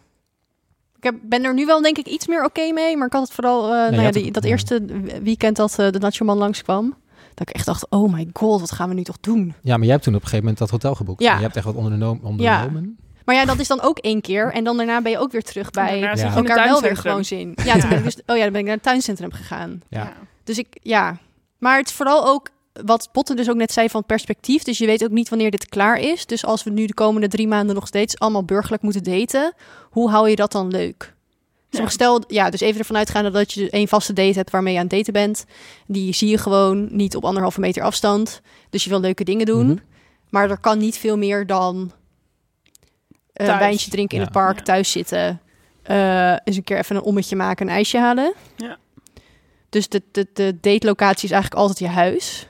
S2: Ik heb, ben er nu wel denk ik iets meer oké mee, maar ik had het vooral, eh, nou
S4: je
S2: ja,
S4: had
S2: die-
S4: het-
S2: dat
S4: ja.
S2: eerste weekend dat eh, de Nachoman langskwam, dat ik echt dacht, oh my god, wat gaan we nu toch doen?
S4: Ja, maar jij hebt toen op een gegeven moment dat hotel geboekt.
S2: Ja.
S4: En Je hebt echt wat ondernomen. ondernomen.
S2: Maar ja, dat is dan ook één keer en dan daarna ben je ook weer terug bij
S3: Daarna
S4: Ja.
S3: zit je in het
S2: elkaar wel weer
S3: tuincentrum.
S2: gewoon zin. Ja, toen ben ik dus, oh ja, dan ben ik naar het tuincentrum gegaan.
S4: Ja.
S2: Dus ik, ja. Maar het is vooral ook wat Botten dus ook net zei van perspectief. Dus je weet ook niet wanneer dit klaar is. Dus als we nu de komende drie maanden nog steeds allemaal burgerlijk moeten daten, hoe hou je dat dan leuk? Dus
S3: Ja.
S2: stel, ja, dus even ervan uitgaande dat je één vaste date hebt waarmee je aan het daten bent. Die zie je gewoon niet op anderhalve meter afstand. Dus je wil leuke dingen doen.
S4: Mhm.
S2: Maar er kan niet veel meer dan eh, een
S3: Thuis.
S2: wijntje drinken in
S4: Ja.
S2: het park,
S3: Ja.
S2: thuis zitten. eh, eens een keer even een ommetje maken, een ijsje halen.
S3: Ja.
S2: Dus de, de, de datelocatie is eigenlijk altijd je huis.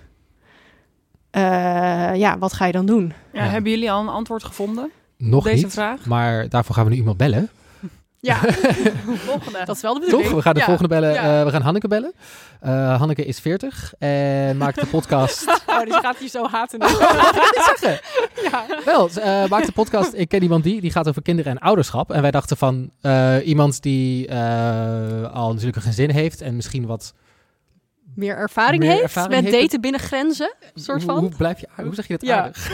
S2: Eh, ja, wat ga je dan doen?
S3: Ja,
S4: Ja.
S3: Hebben jullie al een antwoord gevonden?
S4: Nog
S3: Deze
S4: niet,
S3: vraag?
S4: maar daarvoor gaan we nu iemand bellen.
S3: Ja, volgende.
S2: Dat is wel de bedoeling.
S4: Toch? We gaan de
S3: Ja,
S4: volgende bellen.
S3: ja.
S4: Eh, we gaan Hanneke bellen. Eh, Hanneke is 40 en maakt de podcast...
S2: Oh, dus gaat hij zo haten.
S4: Wel, ze, eh, maakt de podcast Ik Ken Iemand Die. Die gaat over kinderen en ouderschap. En wij dachten van eh, iemand die eh, al natuurlijk een gezin heeft en misschien wat...
S2: Meer ervaring
S4: Meer
S2: heeft
S4: ervaring
S2: met
S4: heeft het-
S2: daten binnen grenzen. Soort
S4: Hoe-
S2: van.
S4: Hoe, blijf je, hoe zeg je dat
S3: Ja.
S4: aardig?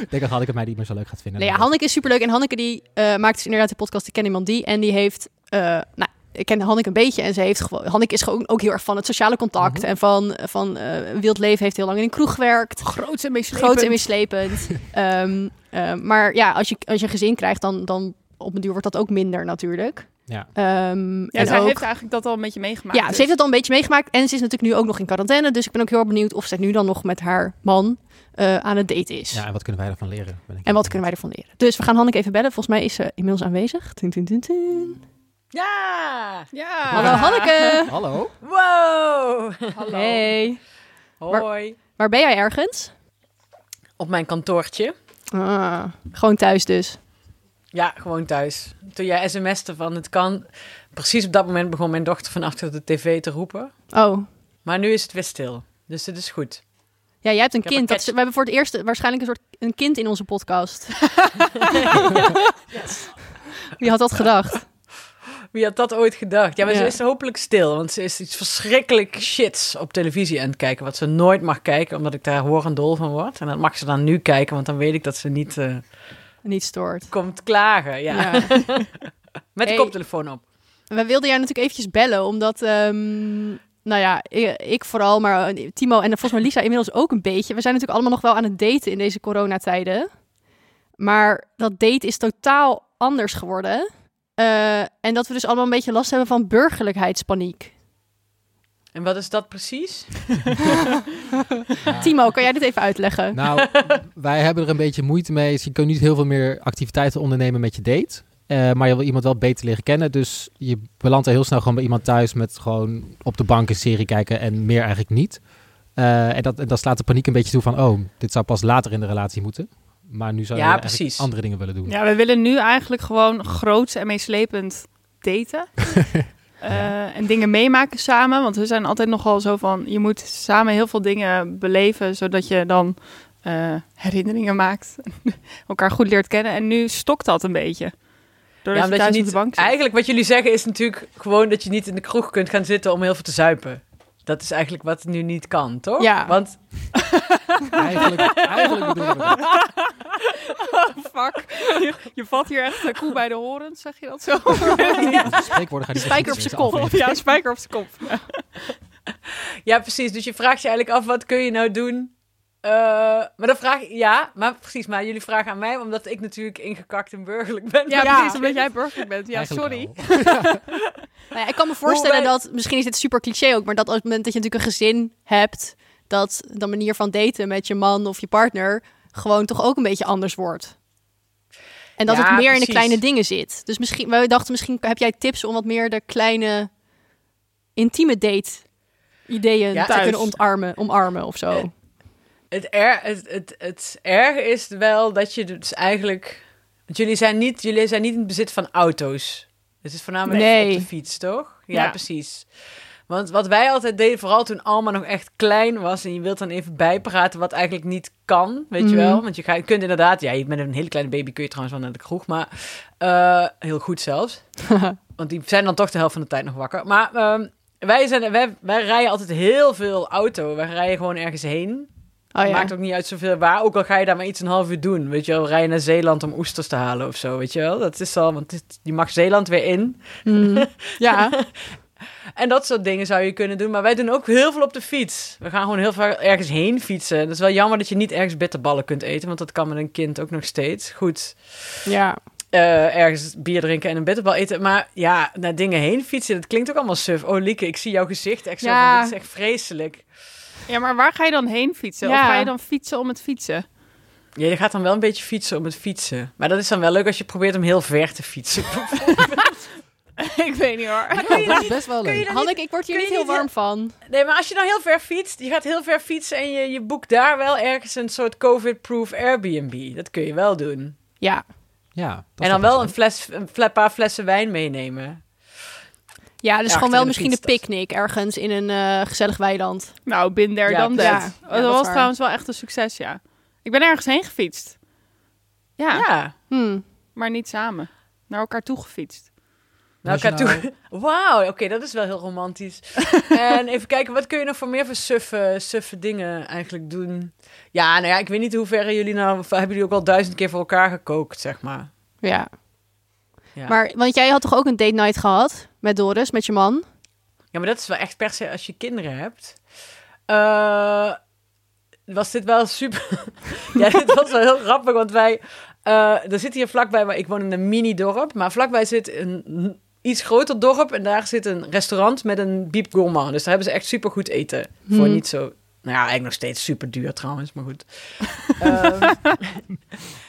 S4: ik denk dat Hanneke mij niet meer zo leuk gaat vinden.
S2: Nee, Nou ja, Hanneke is superleuk. En Hanneke die eh, maakt dus inderdaad de podcast Ik Ken Iemand Die. En die heeft... eh, nou, ik ken Hanneke een beetje. En ze heeft gewoon... Hanneke is gewoon ook heel erg van het sociale contact.
S4: Mhm.
S2: En van, van eh, een wild leven. Heeft heel lang in een kroeg gewerkt.
S3: Groot en meeslepend.
S2: Groot en meeslepend. Ehm, eh, maar ja, als je, als je een gezin krijgt, dan, dan op een duur wordt dat ook minder natuurlijk.
S4: Ja.
S2: Ehm,
S3: Ja,
S2: en
S3: zij
S2: ook-
S3: heeft eigenlijk dat al een beetje meegemaakt. dus-
S2: ja, ze heeft het al een beetje meegemaakt. En ze is natuurlijk nu ook nog in quarantaine. Dus ik ben ook heel erg benieuwd of zij nu dan nog met haar man eh, aan het daten is.
S4: Ja, en wat kunnen wij daarvan leren? Ben ik
S2: En wat kunnen wij ervan leren? Dus we gaan Hanneke even bellen. Volgens mij is ze inmiddels aanwezig. Tin, tin, tin, tin.
S1: Ja!
S3: Ja.
S2: Hallo Hanneke!
S4: Hallo?
S1: Wow!
S2: Hey.
S1: Hoi.
S2: Waar ben jij ergens?
S1: Op mijn kantoortje.
S2: Ah, gewoon thuis dus.
S1: Ja, gewoon thuis. Toen jij sms'te van het kan... Precies op dat moment begon mijn dochter van achter de tv te roepen.
S2: Oh.
S1: Maar nu is het weer stil. Dus het is goed.
S2: Ja, jij hebt een
S1: heb een
S2: kind. Dat
S1: catch.
S2: is- we hebben voor het eerst waarschijnlijk een soort een kind in onze podcast. Wie had dat gedacht?
S1: Wie had dat ooit gedacht? Ja, maar
S2: Ja.
S1: ze is hopelijk stil. Want ze is iets verschrikkelijk shits op televisie aan het kijken. Wat ze nooit mag kijken, omdat ik daar horend dol van word. En dat mag ze dan nu kijken, want dan weet ik dat ze niet eh,
S2: Niet stoort.
S1: komt klagen. Ja. Met de
S2: Hey.
S1: koptelefoon op.
S2: We wilden jou natuurlijk eventjes bellen, omdat... ehm, nou ja, ik, ik vooral, maar eh, Timo en volgens mij Lisa inmiddels ook een beetje. We zijn natuurlijk allemaal nog wel aan het daten in deze coronatijden. Maar dat date is totaal anders geworden. Eh, en dat we dus allemaal een beetje last hebben van burgerlijkheidspaniek.
S1: En wat is dat precies?
S2: Timo, kan jij dit even uitleggen?
S4: Nou, wij hebben er een beetje moeite mee. Dus je kunt niet heel veel meer activiteiten ondernemen met je date. Eh, maar je wil iemand wel beter leren kennen. Dus je belandt al heel snel gewoon bij iemand thuis met gewoon op de bank een serie kijken en meer eigenlijk niet. Eh, en, dat, en dat slaat de paniek een beetje toe van, oh, dit zou pas later in de relatie moeten. Maar nu zou
S1: Ja,
S4: je eigenlijk
S1: precies.
S4: andere dingen willen doen.
S3: Ja, we willen nu eigenlijk gewoon groots en meeslepend daten. Eh, en dingen meemaken samen. Want we zijn altijd nogal zo van... je moet samen heel veel dingen beleven... zodat je dan eh, herinneringen maakt. elkaar goed leert kennen. En nu stokt dat een beetje. Doordat je
S1: omdat
S3: thuis
S1: je
S3: op
S1: niet,
S3: de bank zit.
S1: Eigenlijk wat jullie zeggen is natuurlijk gewoon dat je niet in de kroeg kunt gaan zitten om heel veel te zuipen. Dat is eigenlijk wat nu niet kan, toch?
S2: Ja.
S1: Want
S4: Eigenlijk, eigenlijk bedoelen we dat.
S3: Fuck. Je, je vat hier echt de koe bij de horens, zeg je dat zo?
S4: De spreekwoorden gaan
S2: Die
S4: niet
S2: spijker op
S4: precies
S2: zijn kop.
S4: afleveren.
S3: ja, spijker op zijn kop.
S1: Ja, precies. Dus je vraagt je eigenlijk af, wat kun je nou doen? Eh, maar dan vraag ik, ja, maar precies. Maar jullie vragen aan mij, omdat ik natuurlijk ingekakt en burgerlijk ben.
S3: Ja,
S1: Maar
S3: precies, omdat jij burgerlijk bent. Ja,
S4: Eigenlijk
S3: sorry.
S4: wel.
S2: Nou ja, ik kan me voorstellen
S1: wij-
S2: dat, misschien is dit super cliché ook, maar dat op het moment dat je natuurlijk een gezin hebt, dat de manier van daten met je man of je partner gewoon toch ook een beetje anders wordt. En dat
S1: Ja,
S2: het meer in de
S1: precies.
S2: kleine dingen zit. Dus misschien, wij dachten misschien heb jij tips om wat meer de kleine intieme date ideeën
S1: Ja,
S2: te
S1: thuis.
S2: kunnen ontarmen, omarmen of zo.
S1: Het, er, het, het, het erge is wel dat je dus eigenlijk... Want jullie zijn niet, jullie zijn niet in het bezit van auto's. Het is voornamelijk
S2: Nee.
S1: op de fiets, toch? Ja,
S3: Ja.
S1: precies. Want wat wij altijd deden, vooral toen Alma nog echt klein was... en je wilt dan even bijpraten wat eigenlijk niet kan, weet je
S2: Mhm.
S1: wel? Want je, ga, je kunt inderdaad... Ja, je- met een hele kleine baby kun je trouwens wel naar de kroeg, maar... eh, heel goed zelfs. Want die zijn dan toch de helft van de tijd nog wakker. Maar ehm, wij, zijn, wij, wij rijden altijd heel veel auto. Wij rijden gewoon ergens heen.
S2: Oh ja.
S1: Maakt ook niet uit zoveel waar. Ook al ga je daar maar iets een half uur doen. Weet je wel, rij je naar Zeeland om oesters te halen of zo. Weet je wel, dat is al. Want dit- je mag Zeeland weer in.
S2: Mhm. ja.
S1: En dat soort dingen zou je kunnen doen. Maar wij doen ook heel veel op de fiets. We gaan gewoon heel vaak ergens heen fietsen. Dat is wel jammer dat je niet ergens bitterballen kunt eten. Want dat kan met een kind ook nog steeds. Goed.
S2: ja.
S1: eh, ergens bier drinken en een bitterbal eten. Maar ja, naar dingen heen fietsen. Dat klinkt ook allemaal suf. Oh, Lieke, ik zie jouw gezicht. Echt zo.
S3: Ja.
S1: van, Dit is echt vreselijk.
S3: Ja, maar waar ga je dan heen fietsen? Of
S2: Ja.
S3: ga je dan fietsen om het fietsen?
S1: Ja, je gaat dan wel een beetje fietsen om het fietsen. Maar dat is dan wel leuk als je probeert om heel ver te fietsen.
S3: ik weet niet hoor.
S4: Ja, dat is best wel leuk.
S2: Hanneke, ik word hier
S1: kun
S2: niet
S1: je
S2: heel
S1: niet
S2: warm van.
S1: Nee, maar als je dan heel ver fietst, je gaat heel ver fietsen en je, je boekt daar wel ergens een soort COVID-proof Airbnb. Dat kun je wel doen.
S3: Ja,
S4: Ja, dat
S1: en dan
S4: zou
S1: wel
S4: ik
S1: een, fles, een fle- paar flessen wijn meenemen.
S2: Ja,
S1: Ja,
S2: dus gewoon
S1: achter in
S2: wel
S1: de
S2: misschien een
S1: fietstas.
S2: picknick ergens in een eh, gezellig weiland.
S3: nou, bin there,
S1: Ja,
S3: dan dat.
S1: precies.
S2: Ja,
S3: dat
S2: dat is
S3: was
S2: waar.
S3: trouwens wel echt een succes, ja. Ik ben ergens heen gefietst. Ja,
S1: Ja, naar
S2: Hmm.
S3: maar niet samen. Naar elkaar toe gefietst.
S1: elkaar
S4: Nationaal.
S1: toe. Wauw, oké, dat is wel heel romantisch. en even kijken, wat kun je nog voor meer voor suffe, suffe dingen eigenlijk doen? Ja, nou ja, ik weet niet hoe ver jullie nou... of Hebben jullie ook al duizend keer voor elkaar gekookt, zeg maar?
S2: Ja.
S1: Ja.
S2: Maar, want jij had toch ook een date night gehad met Doris, met je man?
S1: Ja, maar dat is wel echt per se als je kinderen hebt. Eh, was dit wel super... ja, dit was wel heel grappig, want wij... eh er zit hier vlakbij, waar ik woon in een mini-dorp. Maar vlakbij zit een iets groter dorp. En daar zit een restaurant met een biep gourmand. Dus daar hebben ze echt super goed eten. Voor
S2: Hmm.
S1: niet zo... Nou ja, eigenlijk nog steeds super duur trouwens, maar goed. Ehm,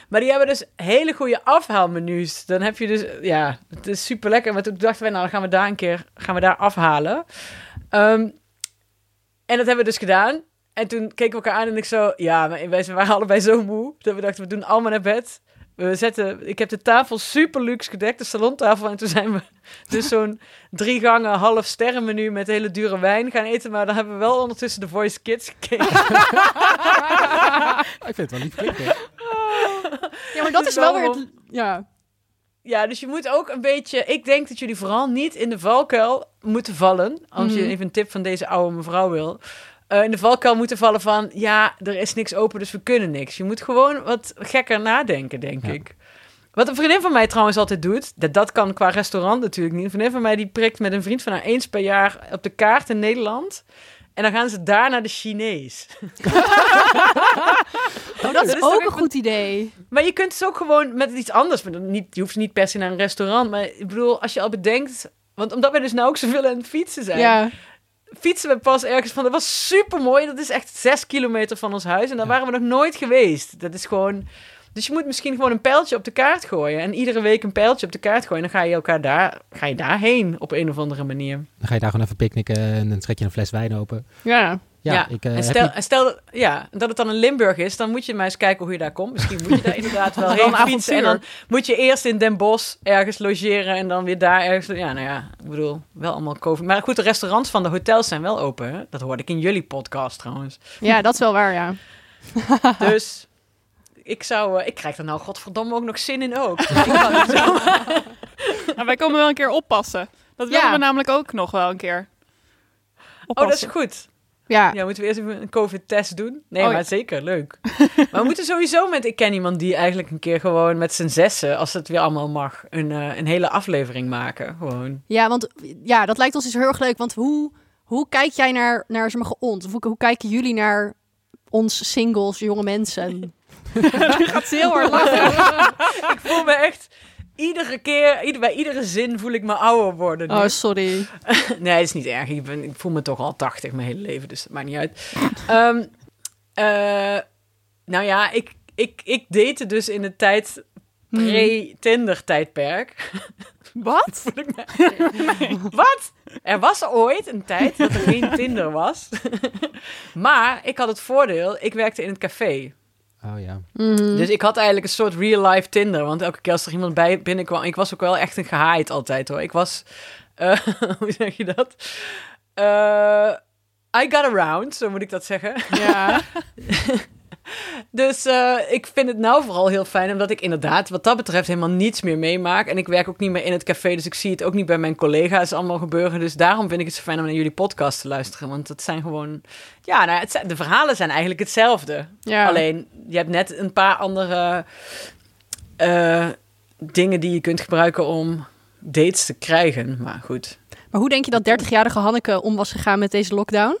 S1: maar die hebben dus hele goede afhaalmenu's. Dan heb je dus, ja, het is super lekker. Maar toen dachten wij, nou, dan gaan we daar een keer gaan we daar afhalen. Ehm, en dat hebben we dus gedaan. En toen keken we elkaar aan en ik zo, ja, maar wij waren allebei zo moe dat we dachten, we doen allemaal naar bed. We zetten, ik heb de tafel super luxe gedekt, de salontafel. En toen zijn we dus zo'n drie gangen half sterren menu met hele dure wijn gaan eten. Maar dan hebben we wel ondertussen de Voice Kids gekeken.
S4: zeggen. Ik vind het wel lief klinken.
S2: Ja, maar dat
S1: Dus
S2: is wel weer...
S1: waarom?
S2: Het, ja.
S1: Ja, dus je moet ook een beetje. Ik denk dat jullie vooral niet in de valkuil moeten vallen. Als je
S2: Mhm.
S1: even een tip van deze oude mevrouw wil. Eh, in de valkuil moeten vallen van. Ja, er is niks open, dus we kunnen niks. Je moet gewoon wat gekker nadenken, denk
S4: Ja.
S1: ik. Wat een vriendin van mij trouwens altijd doet. Dat, dat kan qua restaurant natuurlijk niet. Een vriendin van mij die prikt met een vriend van haar eens per jaar op de kaart in Nederland. En dan gaan ze daar naar de Chinees.
S2: Oh, dat
S1: is
S2: is
S1: toch
S2: ook
S1: echt
S2: een goed idee.
S1: Maar je kunt dus ook gewoon met iets anders. maar dan Niet, je hoeft niet per se naar een restaurant. Maar ik bedoel, als je al bedenkt. Want omdat wij dus nou ook zoveel aan het fietsen zijn.
S2: Ja.
S1: Fietsen we pas ergens van. Dat was super mooi. Dat is echt zes kilometer van ons huis. En daar waren we nog nooit geweest. Dat is gewoon. Dus je moet misschien gewoon een pijltje op de kaart gooien. En iedere week een pijltje op de kaart gooien. En dan ga je elkaar daar, ga je daarheen op een of andere manier.
S4: Dan ga je daar gewoon even picknicken en dan trek je een fles wijn open.
S2: Ja.
S4: Ja,
S1: Ja,
S4: ik eh,
S1: en
S4: heb
S1: stel,
S4: niet-
S1: en stel ja, dat het dan in Limburg is, dan moet je maar eens kijken hoe je daar komt. Misschien moet je daar inderdaad wel
S3: Wel
S1: heen
S3: een
S1: fietsen. En dan moet je eerst in Den Bosch ergens logeren en dan weer daar ergens... Ja, nou ja, ik bedoel, wel allemaal COVID. Maar goed, de restaurants van de hotels zijn wel open. Hè? Dat hoorde ik in jullie podcast trouwens.
S2: ja, dat is wel waar, ja.
S1: Dus ik zou... eh, ik krijg er nou godverdomme ook nog zin in ook. Ik kan het zo-
S3: Nou, wij komen wel een keer oppassen. Dat willen
S2: Ja.
S3: we namelijk ook nog wel een keer.
S1: oh, dat is
S3: Oppassen.
S1: goed.
S2: Ja.
S1: Ja, moeten we eerst even een COVID-test doen? Nee,
S3: Oh,
S1: maar
S3: ja.
S1: zeker, leuk. maar we moeten sowieso met... Ik ken iemand die eigenlijk een keer gewoon met z'n zessen, als het weer allemaal mag, een, eh, een hele aflevering maken. Gewoon.
S2: Ja, want ja, dat lijkt ons dus heel erg leuk. Want hoe, hoe kijk jij naar, naar sommige ons? Of Hoe, hoe kijken jullie naar ons singles, jonge mensen?
S3: gaat ze heel hard lachen.
S1: Ik voel me echt... Iedere keer, ieder, bij iedere zin voel ik me ouder worden. nu.
S2: Oh, sorry.
S1: Nee, dat is niet erg. Ik, ben, ik voel me toch al 80 mijn hele leven, dus dat maakt niet uit. Ehm, eh, nou ja, ik, ik, ik date dus in de tijd pre-Tinder-tijdperk.
S3: Wat?
S1: voel ik me- Wat? Er was ooit een tijd dat er geen Tinder was. maar ik had het voordeel, ik werkte in het café.
S4: Oh ja.
S1: Dus ik had eigenlijk een soort real-life Tinder. Want elke keer als er iemand bij binnenkwam... Ik was ook wel echt een gehaaid altijd, hoor. Ik was... eh, hoe zeg je dat? Eh, I got around, zo moet ik dat zeggen.
S2: Ja.
S1: Dus eh, ik vind het nou vooral heel fijn, omdat ik inderdaad wat dat betreft helemaal niets meer meemaak. En ik werk ook niet meer in het café, dus ik zie het ook niet bij mijn collega's allemaal gebeuren. Dus daarom vind ik het zo fijn om naar jullie podcast te luisteren. Want het zijn gewoon... Ja, nou, het zijn- de verhalen zijn eigenlijk hetzelfde.
S2: ja.
S1: Alleen, je hebt net een paar andere eh, dingen die je kunt gebruiken om dates te krijgen. Maar goed.
S2: Maar hoe denk je dat 30-jarige Hanneke om was gegaan met deze lockdown?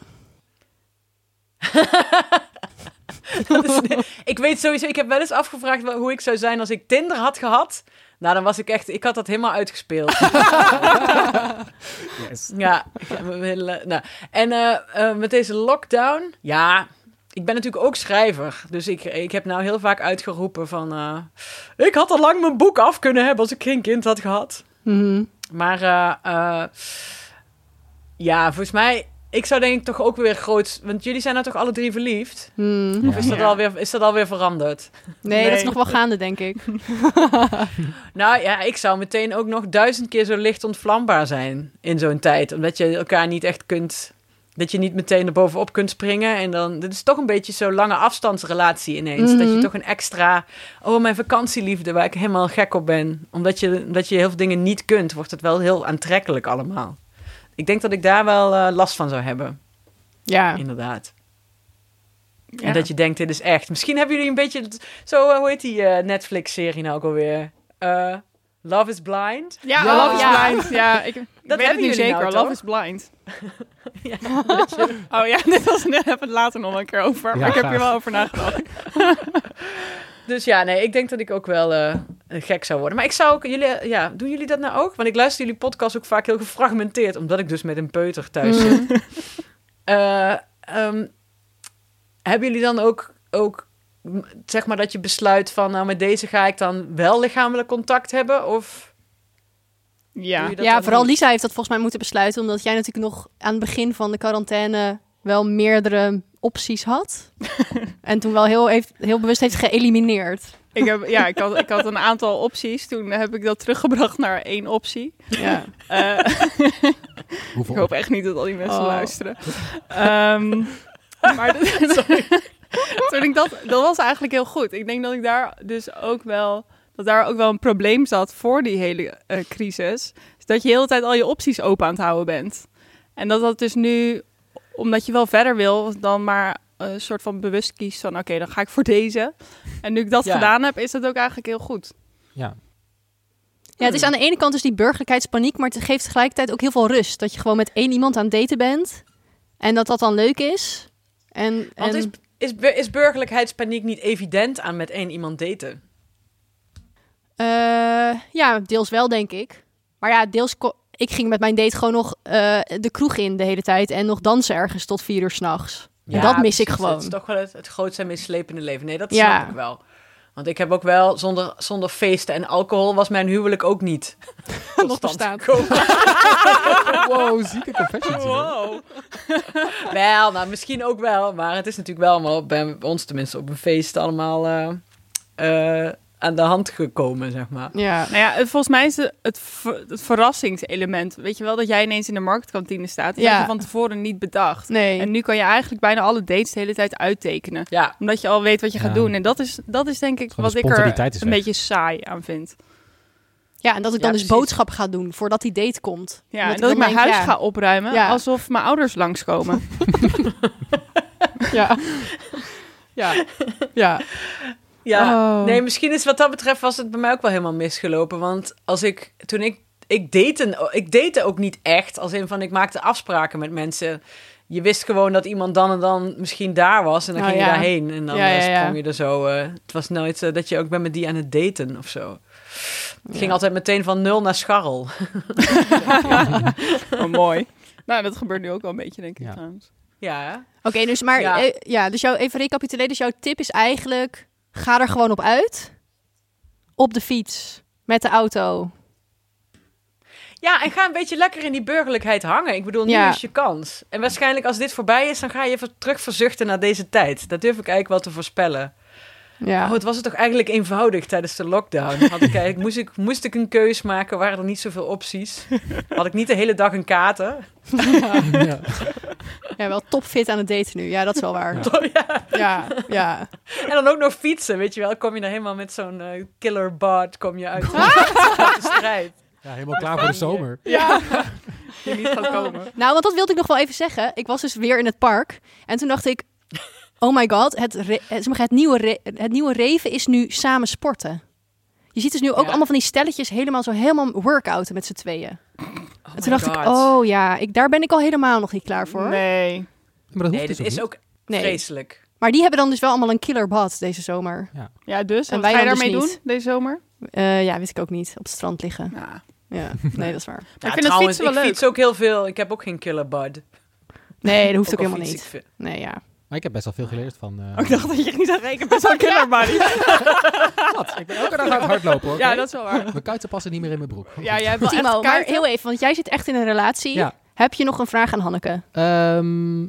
S1: Dat is- ik weet sowieso, ik heb wel eens afgevraagd wel- hoe ik zou zijn als ik Tinder had gehad. Nou, dan was ik echt, ik had dat helemaal uitgespeeld.
S4: Yes.
S1: Ja, ik heb hem hele- nou. en eh, eh, met deze lockdown, ja, ik ben natuurlijk ook schrijver. Dus ik, ik heb nou heel vaak uitgeroepen van, eh, ik had al lang mijn boek af kunnen hebben als ik geen kind
S2: Mhm.
S1: had gehad. Maar eh, eh, ja, volgens mij ik zou denk ik toch ook weer groot... Want jullie zijn nou toch alle drie verliefd?
S2: Hmm.
S1: Of is dat,
S3: Ja.
S1: alweer, is dat alweer veranderd?
S2: Nee, dat is
S3: Nee.
S2: nog wel gaande, denk ik.
S1: Nou ja, ik zou meteen ook nog duizend keer zo licht ontvlambaar zijn in zo'n tijd. Omdat je elkaar niet echt kunt... Dat je niet meteen erbovenop kunt springen. En dan... Dit is toch een beetje zo'n lange afstandsrelatie ineens. Dat je
S2: Mhm.
S1: toch een extra... Oh, mijn vakantieliefde, waar ik helemaal gek op ben. Omdat je, omdat je heel veel dingen niet kunt, wordt het wel heel aantrekkelijk allemaal. Ik denk dat ik daar wel eh, last van zou hebben,
S2: Ja.
S1: inderdaad.
S3: Ja.
S1: En dat je denkt, dit is echt. Misschien hebben jullie een beetje... het- Zo, eh, hoe heet die eh, Netflix-serie nou ook alweer? Eh, Love is Blind?
S3: Ja,
S2: Ja.
S3: Love is
S2: Ja.
S3: Blind. Ja, ik weet het
S1: hebben
S3: niet
S1: jullie
S3: zeker.
S1: nou,
S3: Love
S1: toch?
S3: is Blind.
S1: Ja,
S3: oh ja, dit was net even later nog een keer over.
S4: Ja,
S3: maar ik heb
S4: graag.
S3: hier wel over nagedacht.
S1: Dus ja, nee, ik denk dat ik ook wel eh, gek zou worden. Maar ik zou ook... Jullie, ja, doen jullie dat nou ook? Want ik luister jullie podcast ook vaak heel gefragmenteerd. Omdat ik dus met een peuter thuis zit.
S2: Mm.
S1: Eh, ehm, hebben jullie dan ook, ook, m, zeg maar, dat je besluit van, nou, met deze ga ik dan wel lichamelijk contact hebben? Of doe
S3: Ja.
S1: je dat
S2: Ja,
S1: dan
S2: vooral
S1: niet?
S2: Lisa heeft dat volgens mij moeten besluiten. Omdat jij natuurlijk nog aan het begin van de quarantaine wel meerdere opties had. en toen wel heel, heeft, heel bewust heeft geëlimineerd.
S3: Ik, heb, ja ik, had, ik had een aantal opties. Toen heb ik dat teruggebracht naar één optie.
S2: Ja.
S3: Eh,
S4: Hoeveel
S3: ik hoop echt niet dat al die mensen
S2: Oh.
S3: luisteren. Ehm, maar dat- toen ik dat, dat was eigenlijk heel goed. Ik denk dat ik daar dus ook wel dat daar ook wel een probleem zat voor die hele eh, crisis. Is dat je de hele tijd al je opties open aan het houden bent. En dat dat dus nu, omdat je wel verder wil, dan maar een soort van bewust kiest van oké, dan ga ik voor deze. En nu ik dat
S1: Ja.
S3: gedaan heb, is dat ook eigenlijk heel goed.
S4: Ja.
S2: ja, het is aan de ene kant dus die burgerlijkheidspaniek. Maar het geeft tegelijkertijd ook heel veel rust. Dat je gewoon met één iemand aan het daten bent. En dat dat dan leuk is. En,
S1: Want
S2: en
S1: is, is, bu- is burgerlijkheidspaniek niet evident aan met één iemand daten?
S2: eh, ja, deels wel, denk ik. Maar ja, deels... ko- Ik ging met mijn date gewoon nog eh, de kroeg in de hele tijd. En nog dansen ergens tot vier uur s'nachts. Ja, dat mis ik gewoon.
S1: Het is toch wel het, het grootste en meeslepende leven. Nee, dat
S2: Ja.
S1: snap ik wel. Want ik heb ook wel, zonder, zonder feesten en alcohol was mijn huwelijk ook niet tot
S2: Nog
S1: stand
S2: bestaan.
S1: gekomen.
S4: Wow, zieke confessions hier.
S1: Wel, nou misschien ook wel, maar het is natuurlijk wel allemaal bij ons tenminste op een feest allemaal eh, eh, aan de hand gekomen, zeg maar.
S2: Ja.
S3: Nou ja, het- volgens mij is het, het, ver- het verrassingselement. Weet je wel, dat jij ineens in de marktkantine staat. Dat
S2: Ja.
S3: heb je van tevoren niet bedacht.
S2: Nee.
S3: En nu kan je eigenlijk bijna alle dates de hele tijd uittekenen.
S1: Ja,
S3: Omdat je al weet wat je
S4: Ja.
S3: gaat doen. En dat is, dat is denk ik
S4: Gewoon
S3: wat
S4: de
S3: ik er
S4: spontaniteit is
S3: een
S4: weg.
S3: beetje saai aan vind.
S2: Ja, en dat ik
S1: Ja,
S2: dan dus
S1: precies.
S2: boodschap ga doen voordat die date komt.
S3: Ja,
S2: Omdat
S3: en dat ik
S2: dan
S3: mijn
S2: denk,
S3: huis
S2: ja,
S3: ga opruimen
S2: Ja.
S3: alsof mijn ouders langskomen.
S2: Ja. ja. Ja.
S1: ja.
S3: Oh.
S1: Nee, misschien is wat dat betreft was het bij mij ook wel helemaal misgelopen. Want als ik, toen ik, ik date, ik date ook niet echt. Als in van, ik maakte afspraken met mensen. Je wist gewoon dat iemand dan en dan misschien daar was. En dan
S2: Oh,
S1: ging je
S2: ja.
S1: daarheen. En dan
S2: Ja,
S1: eh,
S2: ja, ja.
S1: sprong je er zo. eh, het was nooit eh, dat je ook bent met die aan het daten of zo. Het ging altijd meteen van nul naar scharrel.
S3: Oh, mooi. Nou, dat gebeurt nu ook wel een beetje, denk ik
S4: Ja.
S3: trouwens.
S1: Ja, hè?
S2: Oké, dus maar
S1: Ja.
S2: ja. ja, dus jouw, even recapituleren. Dus jouw tip is eigenlijk, ga er gewoon op uit. Op de fiets, met de auto.
S1: Ja, en ga een beetje lekker in die burgerlijkheid hangen. Ik bedoel, nu
S2: Ja.
S1: is je kans. En waarschijnlijk als dit voorbij is, dan ga je even terug verzuchten naar deze tijd. Dat durf ik eigenlijk wel te voorspellen.
S2: Ja.
S1: Oh, het was het toch eigenlijk eenvoudig tijdens de lockdown. Had ik eigenlijk, moest, ik, moest ik een keus maken, waren er niet zoveel opties. Had ik niet de hele dag een kater.
S4: Ja.
S2: ja, wel topfit aan het daten nu. Ja, dat is wel waar.
S1: Oh, ja.
S2: Ja, ja.
S1: En dan ook nog fietsen, weet je wel. Kom je dan helemaal met zo'n eh, killer bard, kom je uit uit de strijd.
S4: ja, helemaal klaar voor de zomer.
S3: Ja. Die niet gaat komen.
S2: Nou, want dat wilde ik nog wel even zeggen. Ik was dus weer in het park. En toen dacht ik, oh my god, het, re- het, zeg maar, het, nieuwe, re- het nieuwe Reven is nu samen sporten. Je ziet dus nu ook
S1: Ja.
S2: allemaal van die stelletjes helemaal zo helemaal workouten met z'n tweeën.
S1: Oh
S2: en
S1: my
S2: toen dacht ik,
S1: God.
S2: oh ja, ik, daar ben ik al helemaal nog niet klaar voor.
S3: Nee.
S4: Maar dat hoeft
S1: Nee,
S4: dus
S1: dit
S4: ook
S1: is
S4: niet.
S1: ook
S2: Nee.
S1: vreselijk.
S2: Maar die hebben dan dus wel allemaal een killer bad deze zomer.
S3: Ja, dus.
S2: En
S3: En wat
S2: wij
S3: ga je
S2: dan dus
S3: daarmee
S2: niet.
S3: doen deze zomer?
S2: Eh, ja, weet ik ook niet. Op het strand liggen.
S3: Nou, maar
S2: Ja, nee, dat is waar.
S1: Ja,
S3: ik vind
S1: trouwens,
S3: het fietsen wel leuk.
S1: ik fiets ook heel veel. Ik heb ook geen killer bard.
S2: Nee, dat hoeft ook,
S1: al
S2: helemaal
S1: fiets ik
S2: niet.
S1: veel.
S2: Nee, ja.
S4: Maar ik heb best wel veel geleerd van... eh
S3: Oh, ik dacht dat je ging zeggen, ik heb best wel een killer body.
S4: dat. Ik ben elke dag aan het hardlopen, hoor.
S3: Ja, dat is wel waar.
S4: Mijn kuiten passen niet meer in mijn broek.
S3: Ja, jij hebt wel echt
S2: Timo, maar
S3: kuiten.
S2: heel even, want jij zit echt in een relatie.
S4: Ja.
S2: Heb je nog een vraag aan Hanneke?
S4: Ehm,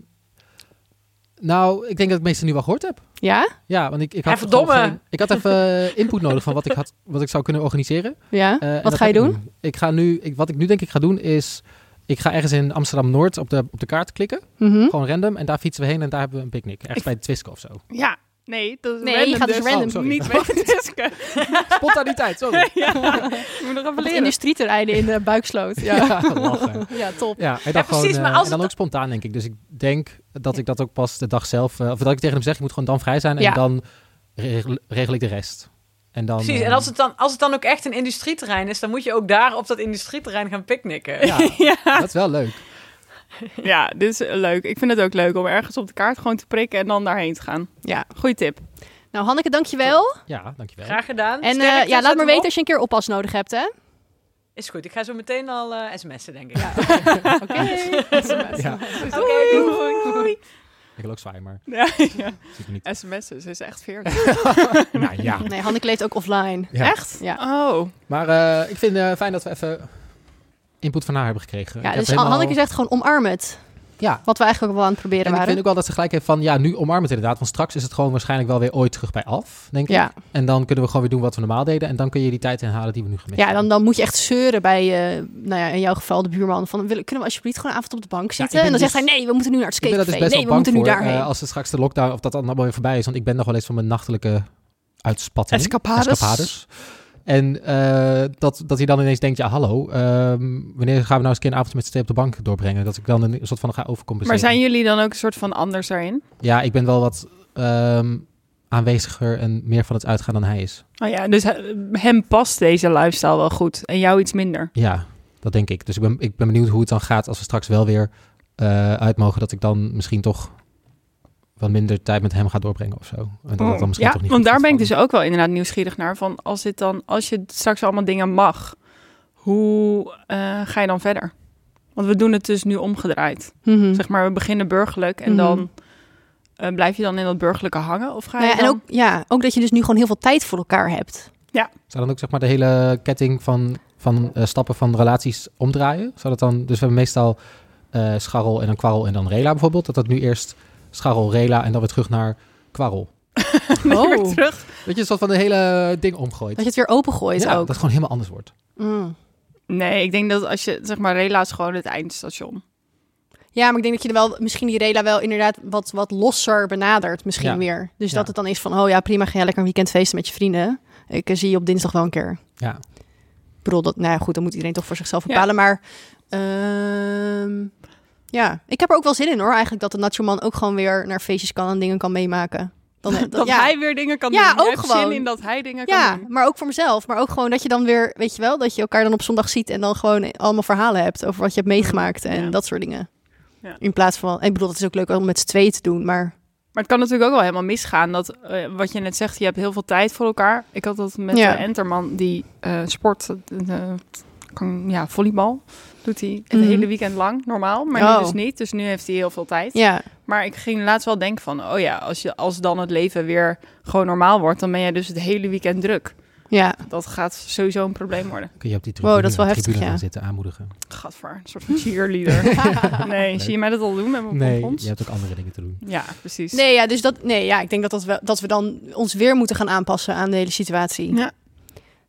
S4: nou, ik denk dat ik het meeste nu wel gehoord heb.
S2: Ja?
S4: Ja, want ik, ik
S1: Ja,
S4: had
S1: verdomme.
S4: gewoon geen- ik had even eh, input nodig van wat ik, had, wat ik zou kunnen organiseren.
S2: Ja?
S4: Eh, en
S2: Wat
S4: dat
S2: ga je
S4: heb ik
S2: doen?
S4: nu. Ik ga nu, ik, wat ik nu denk ik ga doen is, ik ga ergens in Amsterdam-Noord op de, op de kaart klikken.
S1: Hm?
S2: Mhm.
S4: Gewoon random. En daar fietsen we heen en daar hebben we een picknick. Ergens
S3: Ik-
S4: bij de Twisco of zo.
S3: Ja, nee, dat is
S2: Nee,
S3: random
S2: je gaat dus
S3: dus.
S2: random.
S4: Oh, sorry.
S3: Niet weten Jessica.
S4: Spontaniteit, sorry.
S3: ja, ik moet nog even
S2: Op het
S3: leren.
S2: industrieterreinen in eh, Buiksloot. Ja.
S4: Ja, lachen.
S2: ja, top.
S4: Ja, en dan,
S1: Ja, precies,
S4: gewoon,
S1: maar
S4: eh,
S1: als
S4: en dan
S1: het-
S4: ook spontaan, denk ik. Dus ik denk dat ik dat ook pas de dag zelf... eh, of dat ik tegen hem zeg, je moet gewoon dan vrij zijn.
S2: Ja.
S4: En dan regel, regel ik de rest. En
S2: Oh,
S4: dan,
S1: Precies,
S4: eh,
S1: en als het, dan, als het dan ook echt een industrieterrein is, dan moet je ook daar op dat industrieterrein gaan picknicken.
S4: Ja,
S3: Ja.
S4: dat is wel leuk.
S3: ja, dit is eh, leuk. Ik vind het ook leuk om ergens op de kaart gewoon te prikken en dan daarheen te gaan.
S2: Ja.
S3: Goeie tip.
S2: Nou, Hanneke, dankjewel.
S4: Ja, dankjewel.
S1: Graag gedaan.
S2: En eh,
S1: Sterkte,
S2: ja,
S1: zet
S2: laat maar
S1: hem
S2: weten
S1: op.
S2: als je een keer oppas nodig hebt, hè?
S1: Is goed, ik ga zo meteen al eh, sms'en, denk ik.
S2: Oké.
S4: Ja,
S1: Oké, doei.
S4: ik wil ook zwaaien, maar
S3: Ja, ja.
S4: dat zie ik me niet.
S3: SMS'en, ze is echt 40.
S4: nou ja.
S2: Nee, Hanneke leeft ook offline.
S4: Ja.
S3: Echt?
S2: Ja.
S3: Oh.
S4: Maar eh, ik vind het fijn dat we even input van haar hebben gekregen.
S2: Ja,
S4: Ik
S2: dus
S4: heb helemaal-
S2: Hanneke zegt gewoon omarm het.
S4: Ja,
S2: Wat we eigenlijk ook wel aan het proberen
S4: en ik
S2: waren.
S4: vind ook wel dat ze gelijk heeft van... Ja, nu omarmen het inderdaad. Want straks is het gewoon waarschijnlijk wel weer ooit terug bij af, denk ik.
S2: Ja,
S4: En dan kunnen we gewoon weer doen wat we normaal deden. En dan kun je die tijd inhalen die we nu gemist
S2: ja dan,
S4: hebben.
S2: dan moet je echt zeuren bij, eh, nou ja, in jouw geval de buurman. Van, willen, kunnen we alsjeblieft gewoon avond op de bank zitten?
S4: ik
S2: en
S4: ben
S2: dan zegt
S4: dus-
S2: hij, nee, we moeten nu naar het
S4: Ik ben dat dus
S2: skatecafé.
S4: best
S2: nee, we
S4: wel bang
S2: moeten nu
S4: voor.
S2: daarheen.
S4: eh, als het straks de lockdown, of dat dan allemaal weer voorbij is. Want ik ben nog wel eens van mijn nachtelijke uitspatting.
S3: Escapades.
S4: Escapades. En eh, dat, dat hij dan ineens denkt, ja hallo, ehm, wanneer gaan we nou eens een keer een avond met z'n tweeën op de bank doorbrengen? Dat ik dan een soort van ga
S3: Maar
S4: overcompenseren.
S3: zijn jullie dan ook een soort van anders daarin?
S4: Ja, ik ben wel wat ehm, aanweziger en meer van het uitgaan dan hij is.
S3: Oh ja, dus he- hem past deze lifestyle wel goed en jou iets minder.
S4: Ja, dat denk ik. Dus ik ben, ik ben benieuwd hoe het dan gaat als we straks wel weer eh, uit mogen. Dat ik dan misschien toch wat minder tijd met hem ga doorbrengen of zo. En dat dat dan misschien
S3: ja,
S4: toch niet
S3: want
S4: goed
S3: daar
S4: gaat
S3: ben ik dus
S4: vallen.
S3: ook wel inderdaad nieuwsgierig naar. Van als, dit dan, als je straks allemaal dingen mag, hoe eh, ga je dan verder? Want we doen het dus nu omgedraaid.
S2: Mhm.
S3: Zeg maar, we beginnen burgerlijk en
S2: Mhm.
S3: dan eh, blijf je dan in dat burgerlijke hangen? Of ga
S2: Nou
S3: je
S2: ja, en
S3: dan...
S2: ook, ja, ook dat je dus nu gewoon heel veel tijd voor elkaar hebt.
S3: dus
S4: Zou dan ook zeg maar de hele ketting van, van eh, stappen van relaties omdraaien? Zou dat dan... Dus we hebben meestal eh, scharrel en dan kwarrel en dan rela bijvoorbeeld. Dat dat nu eerst scharrel, rela en dan weer terug naar kwarrel.
S3: Nee, weer
S2: Oh.
S3: terug.
S4: Dat je een soort van de hele ding
S2: Dat
S4: omgooit.
S2: je het weer opengooit
S4: ja,
S2: ook.
S4: dat het gewoon helemaal anders wordt.
S2: Mm.
S3: Nee, ik denk dat als je, zeg maar, Rela is gewoon het eindstation.
S2: Ja, maar ik denk dat je er wel misschien die Rela wel inderdaad wat, wat losser benadert, misschien
S4: Ja.
S2: weer. Dus
S4: Ja.
S2: dat het dan is van, oh ja, prima, ga jij lekker een weekend feesten met je vrienden. Ik eh, zie je op dinsdag wel een keer.
S4: Ja.
S2: Ik bedoel, dat, nou ja, goed, dan moet iedereen toch voor zichzelf
S3: Ja.
S2: bepalen. Maar ehm, ja, ik heb er ook wel zin in hoor, eigenlijk dat de Nacho Man ook gewoon weer naar feestjes kan en dingen kan meemaken. Dan,
S3: Dat,
S2: ja.
S3: hij weer dingen kan
S2: Ja,
S3: doen. Je
S2: ook
S3: hebt
S2: gewoon.
S3: zin in dat hij dingen kan
S2: Ja,
S3: doen.
S2: maar ook voor mezelf. Maar ook gewoon dat je dan weer, weet je wel, dat je elkaar dan op zondag ziet en dan gewoon allemaal verhalen hebt over wat je hebt meegemaakt en
S3: Ja.
S2: dat soort dingen.
S3: Ja.
S2: In plaats van, ik bedoel, dat is ook leuk om met z'n tweeën te doen, maar
S3: Maar het kan natuurlijk ook wel helemaal misgaan. Dat, eh, wat je net zegt, je hebt heel veel tijd voor elkaar. Ik had dat met
S2: Ja.
S3: eh, Enterman, die eh, sport, eh, eh, kan, ja, volleybal, doet hij het
S2: Mhm.
S3: hele weekend lang normaal. Maar
S2: Oh.
S3: nu dus niet, dus nu heeft hij heel veel tijd.
S2: ja,
S3: Maar ik ging laatst wel denken van, oh ja, als, je, als dan het leven weer gewoon normaal wordt, dan ben jij dus het hele weekend druk.
S2: ja.
S3: Dat gaat sowieso een probleem worden.
S4: Kun je op die
S2: Wow, dat
S4: tribune,
S2: is wel
S4: tribune
S2: heftig,
S4: gaan
S2: ja.
S4: zitten aanmoedigen.
S3: Gadver, een soort van cheerleader. nee, zie je mij dat al doen met mijn
S4: Nee,
S3: pompons?
S4: je hebt ook andere dingen te doen.
S3: Ja, precies.
S2: Nee, ja, dus dat, nee, ja, ik denk dat, dat, we, dat we dan ons weer moeten gaan aanpassen aan de hele situatie.
S3: Ja.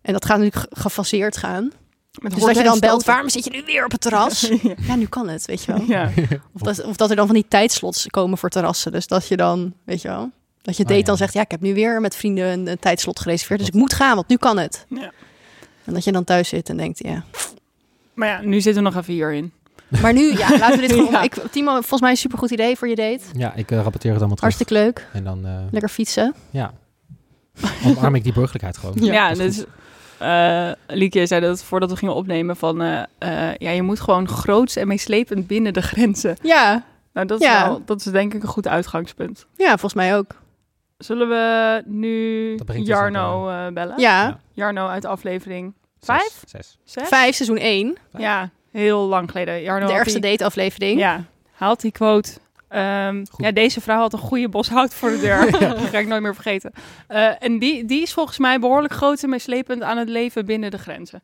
S2: En dat gaat natuurlijk ge- gefaseerd gaan.
S3: Met
S2: Dus
S3: horten
S2: dat je
S3: en
S2: dan belt,
S3: stoten.
S2: waarom zit je nu weer op het terras? Ja, nu kan het, weet je wel.
S3: ja.
S2: Of dat, of dat er dan van die tijdslots komen voor terrassen. Dus dat je dan, weet je wel, dat je
S4: Oh,
S2: date
S4: ja.
S2: dan zegt... ja, ik heb nu weer met vrienden een, een tijdslot gereserveerd... dus ik moet gaan, want nu kan het.
S3: Ja.
S2: En dat je dan thuis zit en denkt, ja.
S3: Maar ja, nu zitten we nog even hierin.
S2: Maar nu, ja, laten we dit gewoon...
S3: Ja.
S2: Ik, Timo, volgens mij een supergoed idee voor je date.
S4: Ja, ik eh, rapporteer het allemaal terug.
S2: Hartstikke leuk.
S4: En dan eh,
S2: Lekker fietsen.
S4: ja. omarm ik die burgerlijkheid gewoon.
S3: Ja,
S4: dat is
S3: dus eh Lieke zei dat voordat we gingen opnemen van... eh, eh, ja, je moet gewoon groots en meeslepend binnen de grenzen.
S2: Ja,
S3: Nou, dat is,
S2: Ja.
S3: wel, dat is denk ik een goed uitgangspunt.
S2: ja volgens mij ook.
S3: Zullen we nu
S4: Dat brengt ons
S3: Jarno eh, bellen?
S2: Ja,
S3: Jarno uit aflevering
S4: Vijf? Zes.
S3: zes?
S2: vijf, seizoen één.
S3: Ja, heel lang geleden. Jarno
S2: De
S3: had
S2: ergste
S3: die-
S2: dateaflevering.
S3: Ja, haalt die quote. Ehm,
S4: Goed.
S3: ja, deze vrouw had een goede boshout voor de deur. Dat ga ik nooit meer vergeten. Eh, en die, die is volgens mij behoorlijk groot en meeslepend aan het leven binnen de grenzen.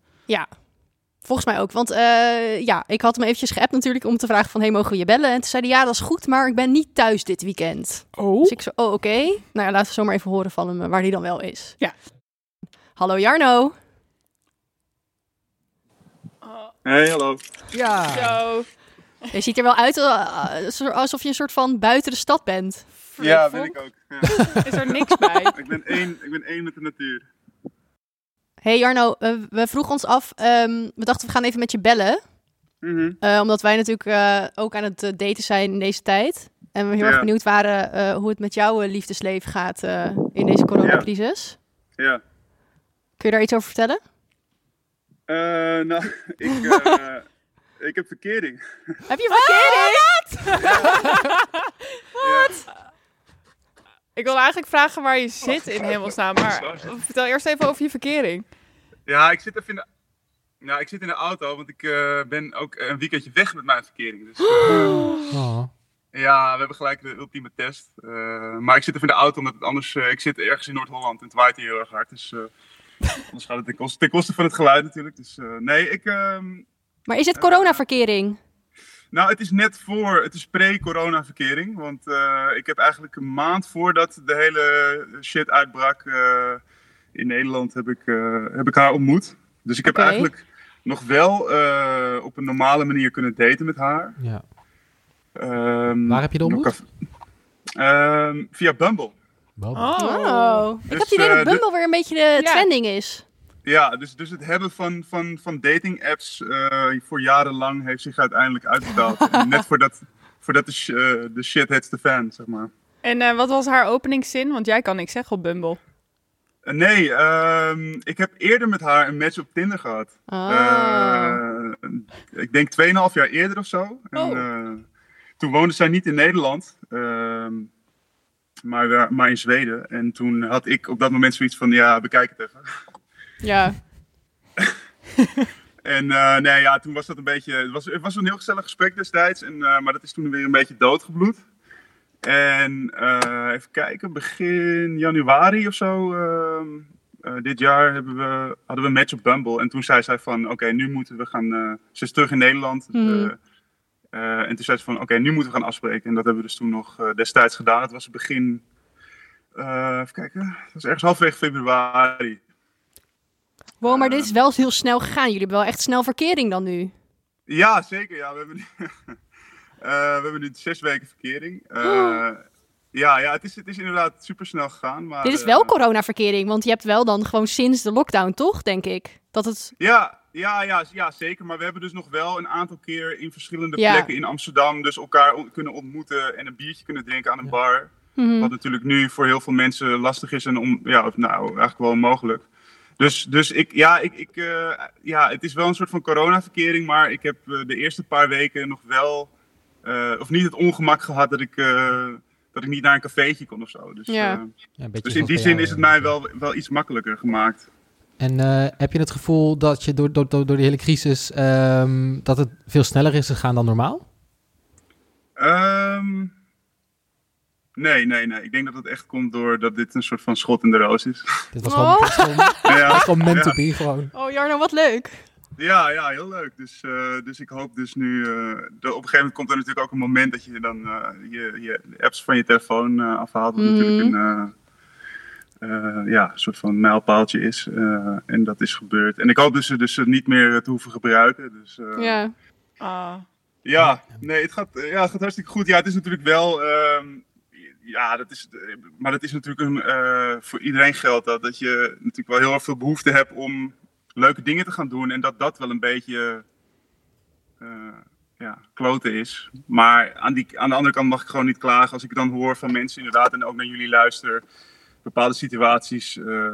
S2: Volgens mij ook. Want eh, ja, ik had hem eventjes geappt natuurlijk om te vragen van... hey, mogen we je bellen? En toen zei hij, ja, dat is goed, maar ik ben niet thuis dit weekend.
S3: Oh.
S2: Dus ik zo, oh, oké. Nou ja, laten we zomaar even horen van hem eh, waar hij dan wel is.
S3: Ja.
S2: Hallo Jarno.
S6: Hey, hallo.
S4: Ja.
S3: Zo.
S2: Je ziet er wel uit eh, zo- alsof je een soort van buiten de stad bent.
S6: Ja, weet ik ook. Ja.
S3: Is er niks bij?
S6: ik, ben één, ik ben één met de natuur.
S2: hey Jarno, eh, we vroegen ons af, ehm, we dachten we gaan even met je bellen.
S6: Mhm.
S2: Eh, omdat wij natuurlijk eh, ook aan het eh, daten zijn in deze tijd. En we heel erg
S6: Ja.
S2: benieuwd waren eh, hoe het met jouw eh, liefdesleven gaat eh, in deze coronacrisis.
S6: Ja.
S2: Kun je daar iets over vertellen?
S6: Eh, nou, ik, eh, ik heb verkering.
S2: Heb je verkeerd?
S6: Wat?
S3: Ik wil eigenlijk vragen waar je zit in hemelsnaam, maar vertel eerst even over je verkering.
S6: Ja. ik zit even in de... Nou, ik zit in de auto, want ik eh, ben ook een weekendje weg met mijn verkering. Dus
S4: Oh.
S6: ja, we hebben gelijk de ultieme test. Eh, maar ik zit even in de auto, omdat het anders... eh, ik zit ergens in Noord-Holland en het waait hier heel erg hard. Dus eh, anders gaat het ten koste, ten koste van het geluid natuurlijk. Dus eh, nee, ik... ehm,
S2: Maar is het coronaverkering?
S6: Nou, het is net voor, het is pre-corona-verkering. Want eh, ik heb eigenlijk een maand voordat de hele shit uitbrak eh, in Nederland, heb ik, eh, heb ik haar ontmoet. Dus ik heb
S2: Oké.
S6: eigenlijk nog wel eh, op een normale manier kunnen daten met haar.
S4: Ja.
S6: Ehm,
S4: Waar heb je de
S6: nog
S4: ontmoet?
S6: af- Ehm, via Bumble.
S4: Wel,
S2: Oh. Ik
S6: Dus,
S2: heb het idee
S6: eh,
S2: dat Bumble weer een beetje de
S3: Ja.
S2: trending is.
S6: Ja, dus, dus het hebben van, van, van dating-apps eh, voor jarenlang heeft zich uiteindelijk uitbetaald. En net voordat, voordat de, sh- eh, de shit hits the fan, zeg maar.
S3: En eh, wat was haar openingszin? Want jij kan niks zeggen op Bumble.
S6: Eh, Nee, ehm, ik heb eerder met haar een match op Tinder gehad.
S2: Ah.
S6: Eh, ik denk 2,5 jaar eerder of zo. En,
S3: Oh.
S6: eh, toen woonde zij niet in Nederland, ehm, maar, we- maar in Zweden. En toen had ik op dat moment zoiets van, ja, bekijk het even.
S3: Ja.
S6: En eh, nee, ja, toen was dat een beetje. Het was, het was een heel gezellig gesprek destijds, en, eh, maar dat is toen weer een beetje doodgebloed. En eh, even kijken, begin januari of zo. ehm, eh, dit jaar hebben we, hadden we een match op Bumble. En toen zei zij van, oké, nu moeten we gaan... eh, ze is terug in Nederland.
S2: Mhm.
S6: eh, eh, en toen zei ze van, oké, nu moeten we gaan afspreken. En dat hebben we dus toen nog eh, destijds gedaan. Het was begin... eh, even kijken, het was ergens halverwege februari.
S2: Wow,
S6: Eh.
S2: maar dit is wel heel snel gegaan. Jullie hebben wel echt snel verkering dan nu.
S6: Ja, zeker. Ja. We, hebben nu, Eh, we hebben nu zes weken verkering. Eh, Ja, ja het, is, het is inderdaad super snel gegaan. Maar,
S2: Oh. dit is
S6: eh,
S2: wel coronaverkering, want je hebt wel dan gewoon sinds de lockdown, toch? Denk ik. Dat het...
S6: ja, ja, ja, ja, zeker. Maar we hebben dus nog wel een aantal keer in verschillende
S2: Ja.
S6: plekken in Amsterdam dus elkaar on- kunnen ontmoeten en een biertje kunnen drinken aan een bar.
S2: Mhm.
S6: Wat natuurlijk nu voor heel veel mensen lastig is en om, ja, of nou, eigenlijk wel onmogelijk. Dus, dus ik, ja, ik, ik, eh, ja, het is wel een soort van coronaverkering, maar ik heb eh, de eerste paar weken nog wel, eh, of niet het ongemak gehad dat ik, eh, dat ik niet naar een cafeetje kon of zo. Dus,
S2: Ja.
S6: eh,
S4: Ja, een beetje
S6: dus in
S4: zoals
S6: die
S4: bij
S6: zin
S4: jou,
S6: is het
S4: eh.
S6: mij wel, wel iets makkelijker gemaakt.
S4: En eh, heb je het gevoel dat je door, door, door door de hele crisis ehm, dat het veel sneller is gegaan dan normaal?
S6: Ehm, nee, nee, nee. Ik denk dat het echt komt doordat dit een soort van schot in de roos is.
S4: Dit was
S2: Oh.
S4: gewoon, dit was gewoon, dit was
S6: ja.
S4: gewoon meant to be gewoon.
S2: Oh, Jarno, wat leuk.
S6: Ja, ja, heel leuk. Dus, eh, dus ik hoop dus nu... eh, de- op een gegeven moment komt er natuurlijk ook een moment dat je dan eh, je, je de apps van je telefoon eh, afhaalt. Wat
S2: Mhm.
S6: natuurlijk een eh, eh, ja, soort van mijlpaaltje is. eh, en dat is gebeurd. En ik hoop dus, dus het niet meer te hoeven gebruiken. Dus, eh,
S2: Ja.
S3: Ah.
S6: ja, nee, het gaat, eh, ja, het gaat hartstikke goed. Ja, het is natuurlijk wel. ehm, ja, dat is, eh, maar dat is natuurlijk een, eh, voor iedereen geldt dat. Dat je natuurlijk wel heel erg veel behoefte hebt om leuke dingen te gaan doen. En dat dat wel een beetje. eh, ja, kloten is. Maar aan, die, aan de andere kant mag ik gewoon niet klagen. Als ik dan hoor van mensen inderdaad en ook naar jullie luister. Bepaalde situaties. eh, eh,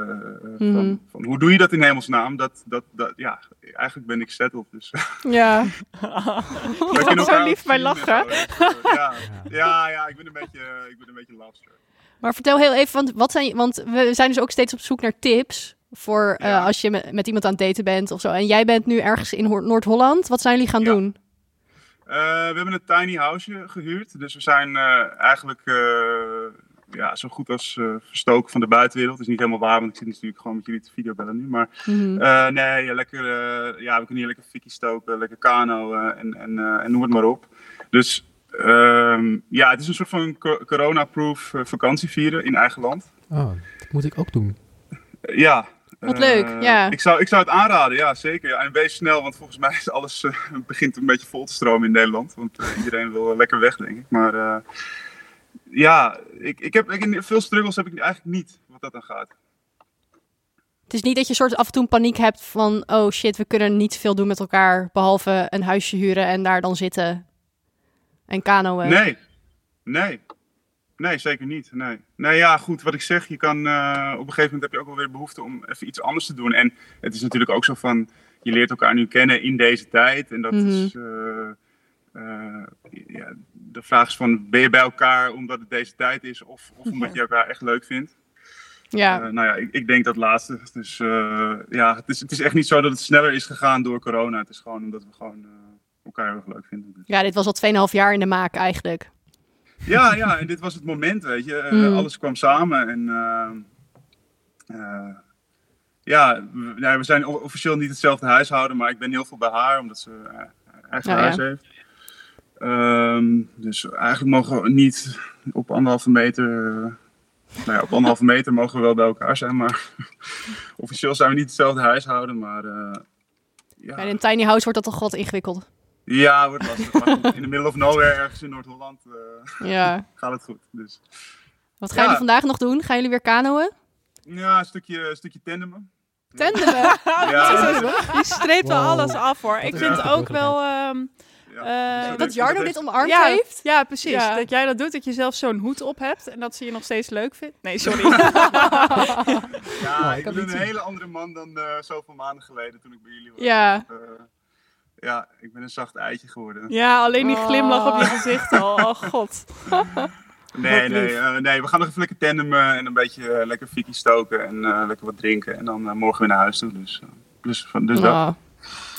S2: Mhm.
S6: van, van, hoe doe je dat in hemelsnaam? Dat, dat, dat, ja, eigenlijk ben ik settled. Dus.
S2: Ja.
S6: We
S3: Ik
S6: kunnen
S3: kan er zo
S6: elkaar
S3: lief
S6: ook
S3: bij
S6: zien en
S3: lachen.
S6: zo, dus, eh, Ja, ja, ja ik, ben een beetje, ik ben een beetje lobster.
S2: Maar vertel heel even, want, wat zijn, want we zijn dus ook steeds op zoek naar tips voor eh,
S6: Ja.
S2: als je met, met iemand aan het daten bent of zo. En jij bent nu ergens in Hoor- Noord-Holland. Wat zijn jullie gaan
S6: Ja.
S2: doen?
S6: Eh, we hebben een tiny house gehuurd. Dus we zijn eh, eigenlijk eh, ja, zo goed als eh, verstoken van de buitenwereld. is niet helemaal waar, want ik zit natuurlijk gewoon met jullie te videobellen nu. Maar
S2: Mhm.
S6: eh, nee, ja, lekker, eh, ja, we kunnen hier lekker fikkie stoken, lekker kano eh, en, en, eh, en noem het maar op. Dus ehm, ja, het is een soort van co- corona-proof eh, vakantie vieren in eigen land.
S4: Oh, dat moet ik ook doen.
S6: Eh, ja.
S2: Wat
S6: Eh,
S2: leuk, ja.
S6: Ik zou, ik zou het aanraden, ja, zeker. Ja. En wees snel, want volgens mij is alles, eh, begint een beetje vol te stromen in Nederland. Want eh, iedereen wil eh, lekker weg, denk ik. Maar eh, ja, ik, ik heb, ik, veel struggles heb ik eigenlijk niet, wat dat dan gaat.
S2: Het is niet dat je soort af en toe een paniek hebt van... oh shit, we kunnen niet veel doen met elkaar... behalve een huisje huren en daar dan zitten en kanoën.
S6: Nee, nee. Nee, zeker niet. Nee. nee, ja, goed. Wat ik zeg, je kan, eh, op een gegeven moment heb je ook wel weer behoefte om even iets anders te doen. En het is natuurlijk ook zo van, je leert elkaar nu kennen in deze tijd. En dat
S2: Mhm.
S6: is, eh, eh, ja, de vraag is van, ben je bij elkaar omdat het deze tijd is? Of, of omdat je elkaar echt leuk vindt?
S2: Mhm. Ja,
S6: Eh, nou ja, ik, ik denk dat laatste. Dus eh, ja, het is, het is echt niet zo dat het sneller is gegaan door corona. Het is gewoon omdat we gewoon eh, elkaar heel erg leuk vinden. Dus.
S2: ja dit was al 2,5 jaar in de maak eigenlijk.
S6: Ja, ja, en dit was het moment, weet je. Eh,
S2: Mm.
S6: Alles kwam samen en... ehm, eh, ja, we, nou ja, we zijn o- officieel niet hetzelfde huishouden, maar ik ben heel veel bij haar, omdat ze eh, eigen
S2: Oh, Ja, ja.
S6: huis heeft. Ehm, dus eigenlijk mogen we niet op anderhalve meter... eh, nou ja, op anderhalve meter mogen we wel bij elkaar zijn, maar... officieel zijn we niet hetzelfde huishouden, maar... eh, ja,
S2: Bij een tiny house wordt dat toch wat ingewikkeld.
S6: ja, wordt lastig. Maar goed, in de middle of nowhere, ergens in Noord-Holland, eh,
S2: Ja.
S6: gaat het goed. Dus...
S2: Wat gaan
S6: Ja.
S2: jullie vandaag nog doen? Gaan jullie weer kanoën?
S6: Ja, een stukje, een stukje tandemen.
S2: Tenderen?
S3: Ah,
S6: Ja,
S3: Je streept wel
S4: Wow.
S3: alles af hoor. Ik
S6: een
S3: vind
S4: echte
S3: ook wel. ehm,
S6: ja.
S3: Eh,
S2: dat Jarno dit omarmd
S3: ja,
S2: heeft?
S3: Ja, precies.
S2: Ja.
S3: Dat jij dat doet, dat je zelf zo'n hoed op hebt en dat ze je nog steeds leuk vindt. Nee, sorry.
S6: Ja,
S4: Oh, ik
S6: ik
S4: kan
S6: ben
S4: niet
S6: een
S4: zien.
S6: hele andere man dan eh zoveel maanden geleden toen ik bij jullie was.
S3: ja.
S6: Eh, ja, ik ben een zacht eitje geworden.
S3: ja, alleen die
S2: Oh.
S3: glimlach op je gezicht al. Oh god.
S6: nee,
S3: wat
S6: nee,
S3: lief.
S6: eh, nee, we gaan nog even lekker tandemen en een beetje eh, lekker fikkie stoken en eh, lekker wat drinken. En dan eh, morgen weer naar huis toe. Dus, eh, dus, van- dus
S3: Oh.
S6: dat.
S2: Ah.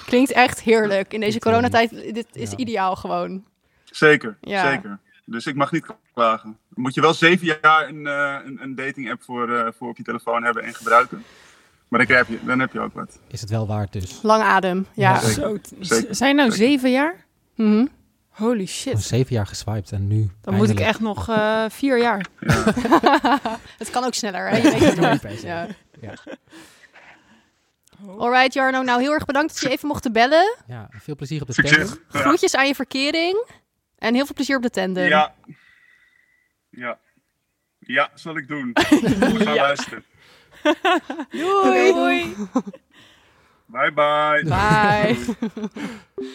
S2: Klinkt echt heerlijk. In deze
S4: Ik, eh,
S2: coronatijd, dit is
S4: ja.
S2: ideaal gewoon.
S6: Zeker,
S2: Ja.
S6: zeker. Dus ik mag niet klagen. Moet je wel zeven jaar een, eh, een, een dating app voor, eh, voor op je telefoon hebben en gebruiken. Maar dan, krijg je, dan heb je ook wat.
S4: Is het wel waard dus?
S2: Lang adem, ja.
S4: Ja.
S3: Zo,
S6: Zeker.
S3: zijn nou
S6: Zeker.
S3: zeven jaar?
S2: Mhm.
S3: Holy
S4: Gewoon
S3: shit.
S4: zeven jaar geswiped en nu
S3: Dan moet ik echt nog eh, vier jaar.
S2: Het kan ook sneller, hè? Je weet het nooit. Ja.
S4: Ja.
S2: Alright, Jarno. Nou, heel erg bedankt dat je even mocht bellen.
S4: Ja, veel plezier op de
S6: Succes.
S4: tender.
S6: Ja.
S2: Groetjes aan je verkering. En heel veel plezier op de tender.
S6: Ja. Ja. Ja, zal ik doen. We gaan luisteren.
S2: Doei.
S6: Bye bye.
S2: Bye.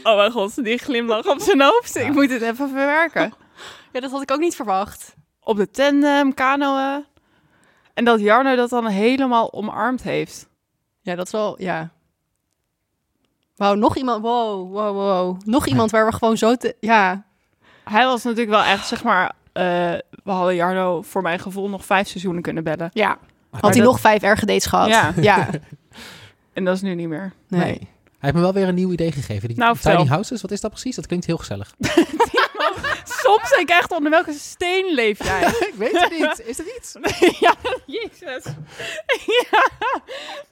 S3: Oh mijn god, die glimlach op zijn hoofd. Ik moet het even verwerken.
S2: Ja, dat had ik ook niet verwacht.
S3: Op de tandem, kanoën. En dat Jarno dat dan helemaal omarmd heeft.
S2: Ja, dat is wel, ja. Wauw, nog iemand, wow, wow, wow. Nog iemand waar we gewoon zo te, ja.
S3: Hij was natuurlijk wel echt, zeg maar... eh, we hadden Jarno voor mijn gevoel nog vijf seizoenen kunnen bellen.
S2: Ja. Had
S3: Maar
S2: hij
S3: dat-
S2: nog vijf erge dates gehad?
S3: Ja.
S2: Ja.
S3: En dat is nu niet meer.
S2: Nee.
S4: Nee. Hij heeft me wel weer een nieuw idee gegeven. Die
S3: Nou,
S4: tiny
S3: vertel.
S4: houses, wat is dat precies? Dat klinkt heel gezellig.
S3: Soms denk ik echt, onder welke steen leef jij?
S4: ik weet het niet. Is dat iets?
S3: ja, jezus. ja.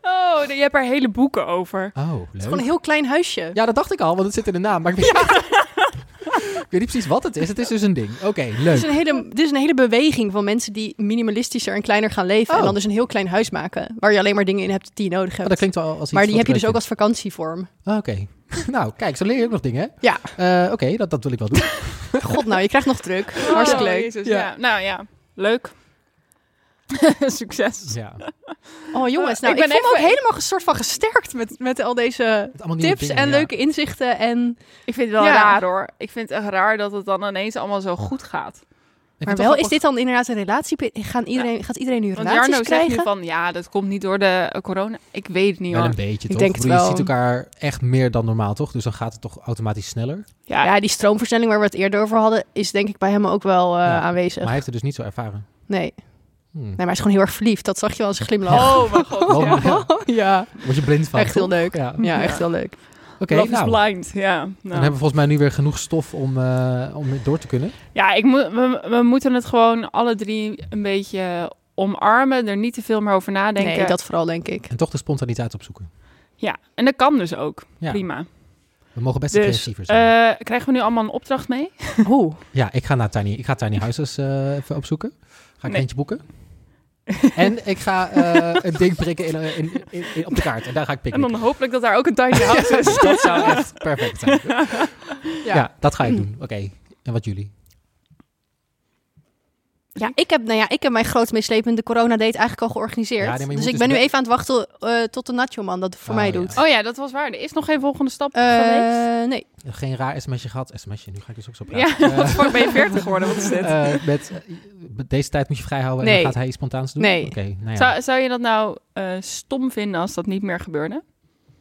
S3: Oh, je hebt er hele boeken over.
S4: Oh, leuk.
S2: Gewoon een heel klein huisje.
S4: Ja, dat dacht ik al, want het zit in de naam. Maar ik weet, ik weet niet precies wat het is. Het is dus een ding. Oké,
S2: Dit
S4: leuk.
S2: is, een hele, dit is een hele beweging van mensen die minimalistischer en kleiner gaan leven. En
S4: Oh.
S2: dan dus een heel klein huis maken. Waar je alleen maar dingen in hebt die je nodig
S4: Oh,
S2: hebt.
S4: dat klinkt wel als iets
S2: maar die
S4: wat
S2: heb je
S4: ik
S2: dus ook
S4: leuk
S2: als vakantievorm.
S4: vind. Ah, Oké. Nou, kijk, zo leer je ook nog dingen, hè?
S2: Ja.
S4: Eh, Oké, dat, dat wil ik wel doen.
S2: God nou, je krijgt nog druk. Hartstikke
S3: Oh,
S2: leuk.
S3: Jezus,
S4: Ja.
S3: ja. Nou ja, leuk. Succes.
S4: ja. Het
S2: Oh jongens, nou, ik,
S3: Ik ben
S2: voel me
S3: echt-
S2: ook helemaal een soort van gesterkt met, met al deze
S4: allemaal nieuwe
S2: tips
S4: dingen,
S2: en
S4: ja.
S2: leuke inzichten. En,
S3: Ik vind het wel
S2: Ja.
S3: raar hoor. Ik vind het echt raar dat het dan ineens allemaal zo goed gaat.
S4: Ik
S2: maar
S4: vind het
S2: wel,
S4: toch
S2: is
S4: grappig.
S2: dit dan inderdaad een relatie? Gaan iedereen, Gaat iedereen nu
S3: Want
S2: relaties
S3: Jarno zegt
S2: krijgen?
S3: nu van, ja, dat komt niet door de eh, corona. Ik weet het niet
S4: Wel
S3: hoor.
S4: een beetje,
S2: Ik
S4: toch?
S2: denk
S4: Ik
S2: het
S4: bedoel, je
S2: wel.
S4: ziet elkaar echt meer dan normaal, toch? Dus dan gaat het toch automatisch sneller?
S3: Ja,
S2: Ja, die stroomversnelling waar we het eerder over hadden, is denk ik bij hem ook wel eh,
S4: Ja,
S2: aanwezig.
S4: Maar hij heeft het dus niet zo ervaren.
S2: Nee. nee,
S4: Hmm.
S2: maar hij is gewoon heel erg verliefd. Dat zag je wel als een glimlach.
S3: Oh mijn god.
S4: Wel-
S3: ja.
S4: ja.
S2: ja.
S4: Word je blind van?
S2: Echt heel
S4: toch?
S2: leuk.
S4: Ja.
S2: Ja, echt heel leuk.
S4: Oké,
S3: Love
S4: nou.
S3: is blind, ja. nou.
S4: Dan hebben we volgens mij nu weer genoeg stof om, eh, om door te kunnen.
S3: Ja, ik moet, we, we moeten het gewoon alle drie een beetje omarmen. Er niet te veel meer over nadenken.
S2: Nee, dat vooral denk ik.
S4: En toch de spontaniteit opzoeken.
S3: Ja, en dat kan dus ook.
S4: Ja,
S3: Prima.
S4: we mogen best
S3: Dus
S4: creatiever zijn.
S3: eh, krijgen we nu allemaal een opdracht mee?
S2: Hoe?
S4: ja, ik ga, naar Tiny, ik ga Tiny Houses eh, even opzoeken. Ga ik
S3: Nee.
S4: eentje boeken. en ik ga eh een ding prikken in, eh, in, in, in- op de kaart. En daar ga ik
S3: En
S4: pikken.
S3: dan hopelijk dat daar ook een tiny house is.
S4: dat zou echt perfect zijn. Ja, dat ga ik doen. Oké, en wat jullie?
S2: Ja, ik heb, nou ja, ik heb mijn groot meeslepende coronadate eigenlijk al georganiseerd.
S4: Ja, nee, maar je
S2: dus
S4: moet
S2: ik
S4: dus
S2: ben nu
S4: wel-
S2: even aan het wachten eh, tot de Nacho Man dat voor
S4: Oh,
S2: mij
S4: ja.
S2: doet.
S3: Oh ja, dat was waar. Er is nog geen volgende stap geweest.
S2: Eh, nee.
S4: Geen raar sms'je gehad. Sms'je, nu ga ik dus ook zo praten.
S3: Ja, wat voor ben je 40 geworden? Wat is dit?
S4: Eh, met, eh, met deze tijd moet je vrijhouden en
S2: Nee.
S4: dan gaat hij iets spontaans doen?
S2: Nee.
S4: Oké, nou ja.
S3: Zou, zou je dat nou eh, stom vinden als dat niet meer gebeurde?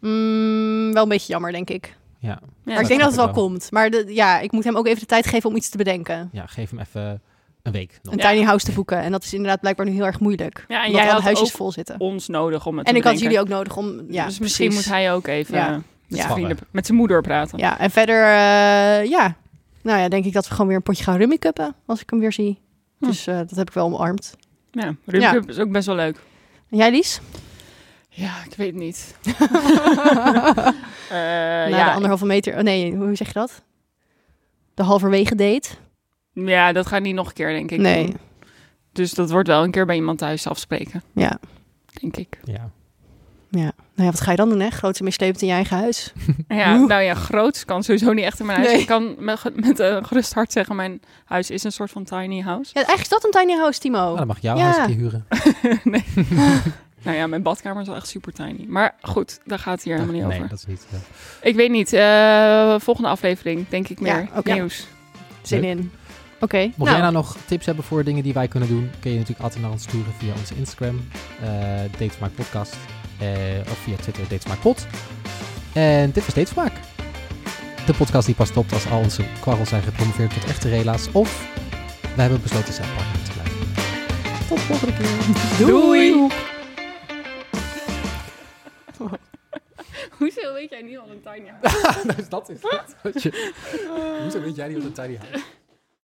S2: Mm, wel een beetje jammer, denk ik.
S4: ja.
S2: maar ik
S4: dat
S2: denk dat het
S4: snap
S2: wel
S4: ik wel.
S2: komt. Maar de, ja, ik moet hem ook even de tijd geven om iets te bedenken.
S4: ja, geef hem even een week. Nog.
S2: Een
S3: Ja.
S2: tiny house te boeken. En dat is inderdaad blijkbaar nu heel erg moeilijk.
S3: Ja, en
S2: omdat
S3: jij
S2: alle
S3: had
S2: huisjes
S3: ook-
S2: vol zitten.
S3: ons nodig om het
S2: En
S3: te
S2: ik had
S3: bedenken.
S2: jullie ook nodig om... Ja,
S3: dus misschien
S2: precies.
S3: moet hij ook even
S2: Ja.
S3: eh, met, zijn
S4: Ja.
S3: vrienden, met zijn moeder praten.
S2: Ja, en verder... eh, ja. Nou ja, denk ik dat we gewoon weer een potje gaan rummikuppen. Als ik hem weer zie.
S3: Hm.
S2: Dus eh, dat heb ik wel omarmd.
S3: Ja, Ruby
S2: Ja.
S3: Cup is ook best wel leuk.
S2: En jij, Lies?
S3: Ja, ik weet niet. Eh,
S2: Na de
S3: ja,
S2: anderhalve meter... Oh nee, hoe zeg je dat? De halverwege date?
S3: ja, dat gaat niet nog een keer, denk ik.
S2: nee.
S3: doen. Dus dat wordt wel een keer bij iemand thuis afspreken,
S2: Ja.
S3: denk ik.
S4: Ja.
S2: Nou ja, wat ga je dan doen, hè? Grote meeslepend in je eigen huis.
S3: Ja,
S2: Oeh.
S3: nou ja, groots kan sowieso niet echt in mijn huis.
S2: Nee.
S3: Ik kan met, met een gerust hart zeggen, mijn huis is een soort van tiny house.
S2: Ja, eigenlijk is dat een tiny house, Timo.
S4: Nou, dan mag ik jou
S2: Ja.
S4: eens een keer huren.
S3: Nou ja, mijn badkamer is wel echt super tiny. Maar goed, daar gaat het hier helemaal niet
S4: nee,
S3: over.
S4: dat is niet. eh. ja.
S3: Ik weet niet. eh, volgende aflevering, denk ik meer.
S2: Ja, oké.
S3: Nieuws.
S2: Zin
S4: Leuk.
S2: in. Oké.
S4: Mocht
S2: nou,
S4: jij nou nog tips hebben voor dingen die wij kunnen doen, kun je natuurlijk altijd naar ons sturen via onze Instagram, eh Datevermaak Podcast, eh, of via Twitter, Datevermaak Pod. En dit was Datevermaak. De podcast die pas stopt als al onze kwarrels zijn gepromoveerd tot echte rela's, of we hebben besloten zelf partner te blijven. Tot de volgende keer.
S3: Doei. Hoezo weet jij niet al een tiny house?
S4: Dus nou, dat is het. Hoezo weet jij niet wat een tiny house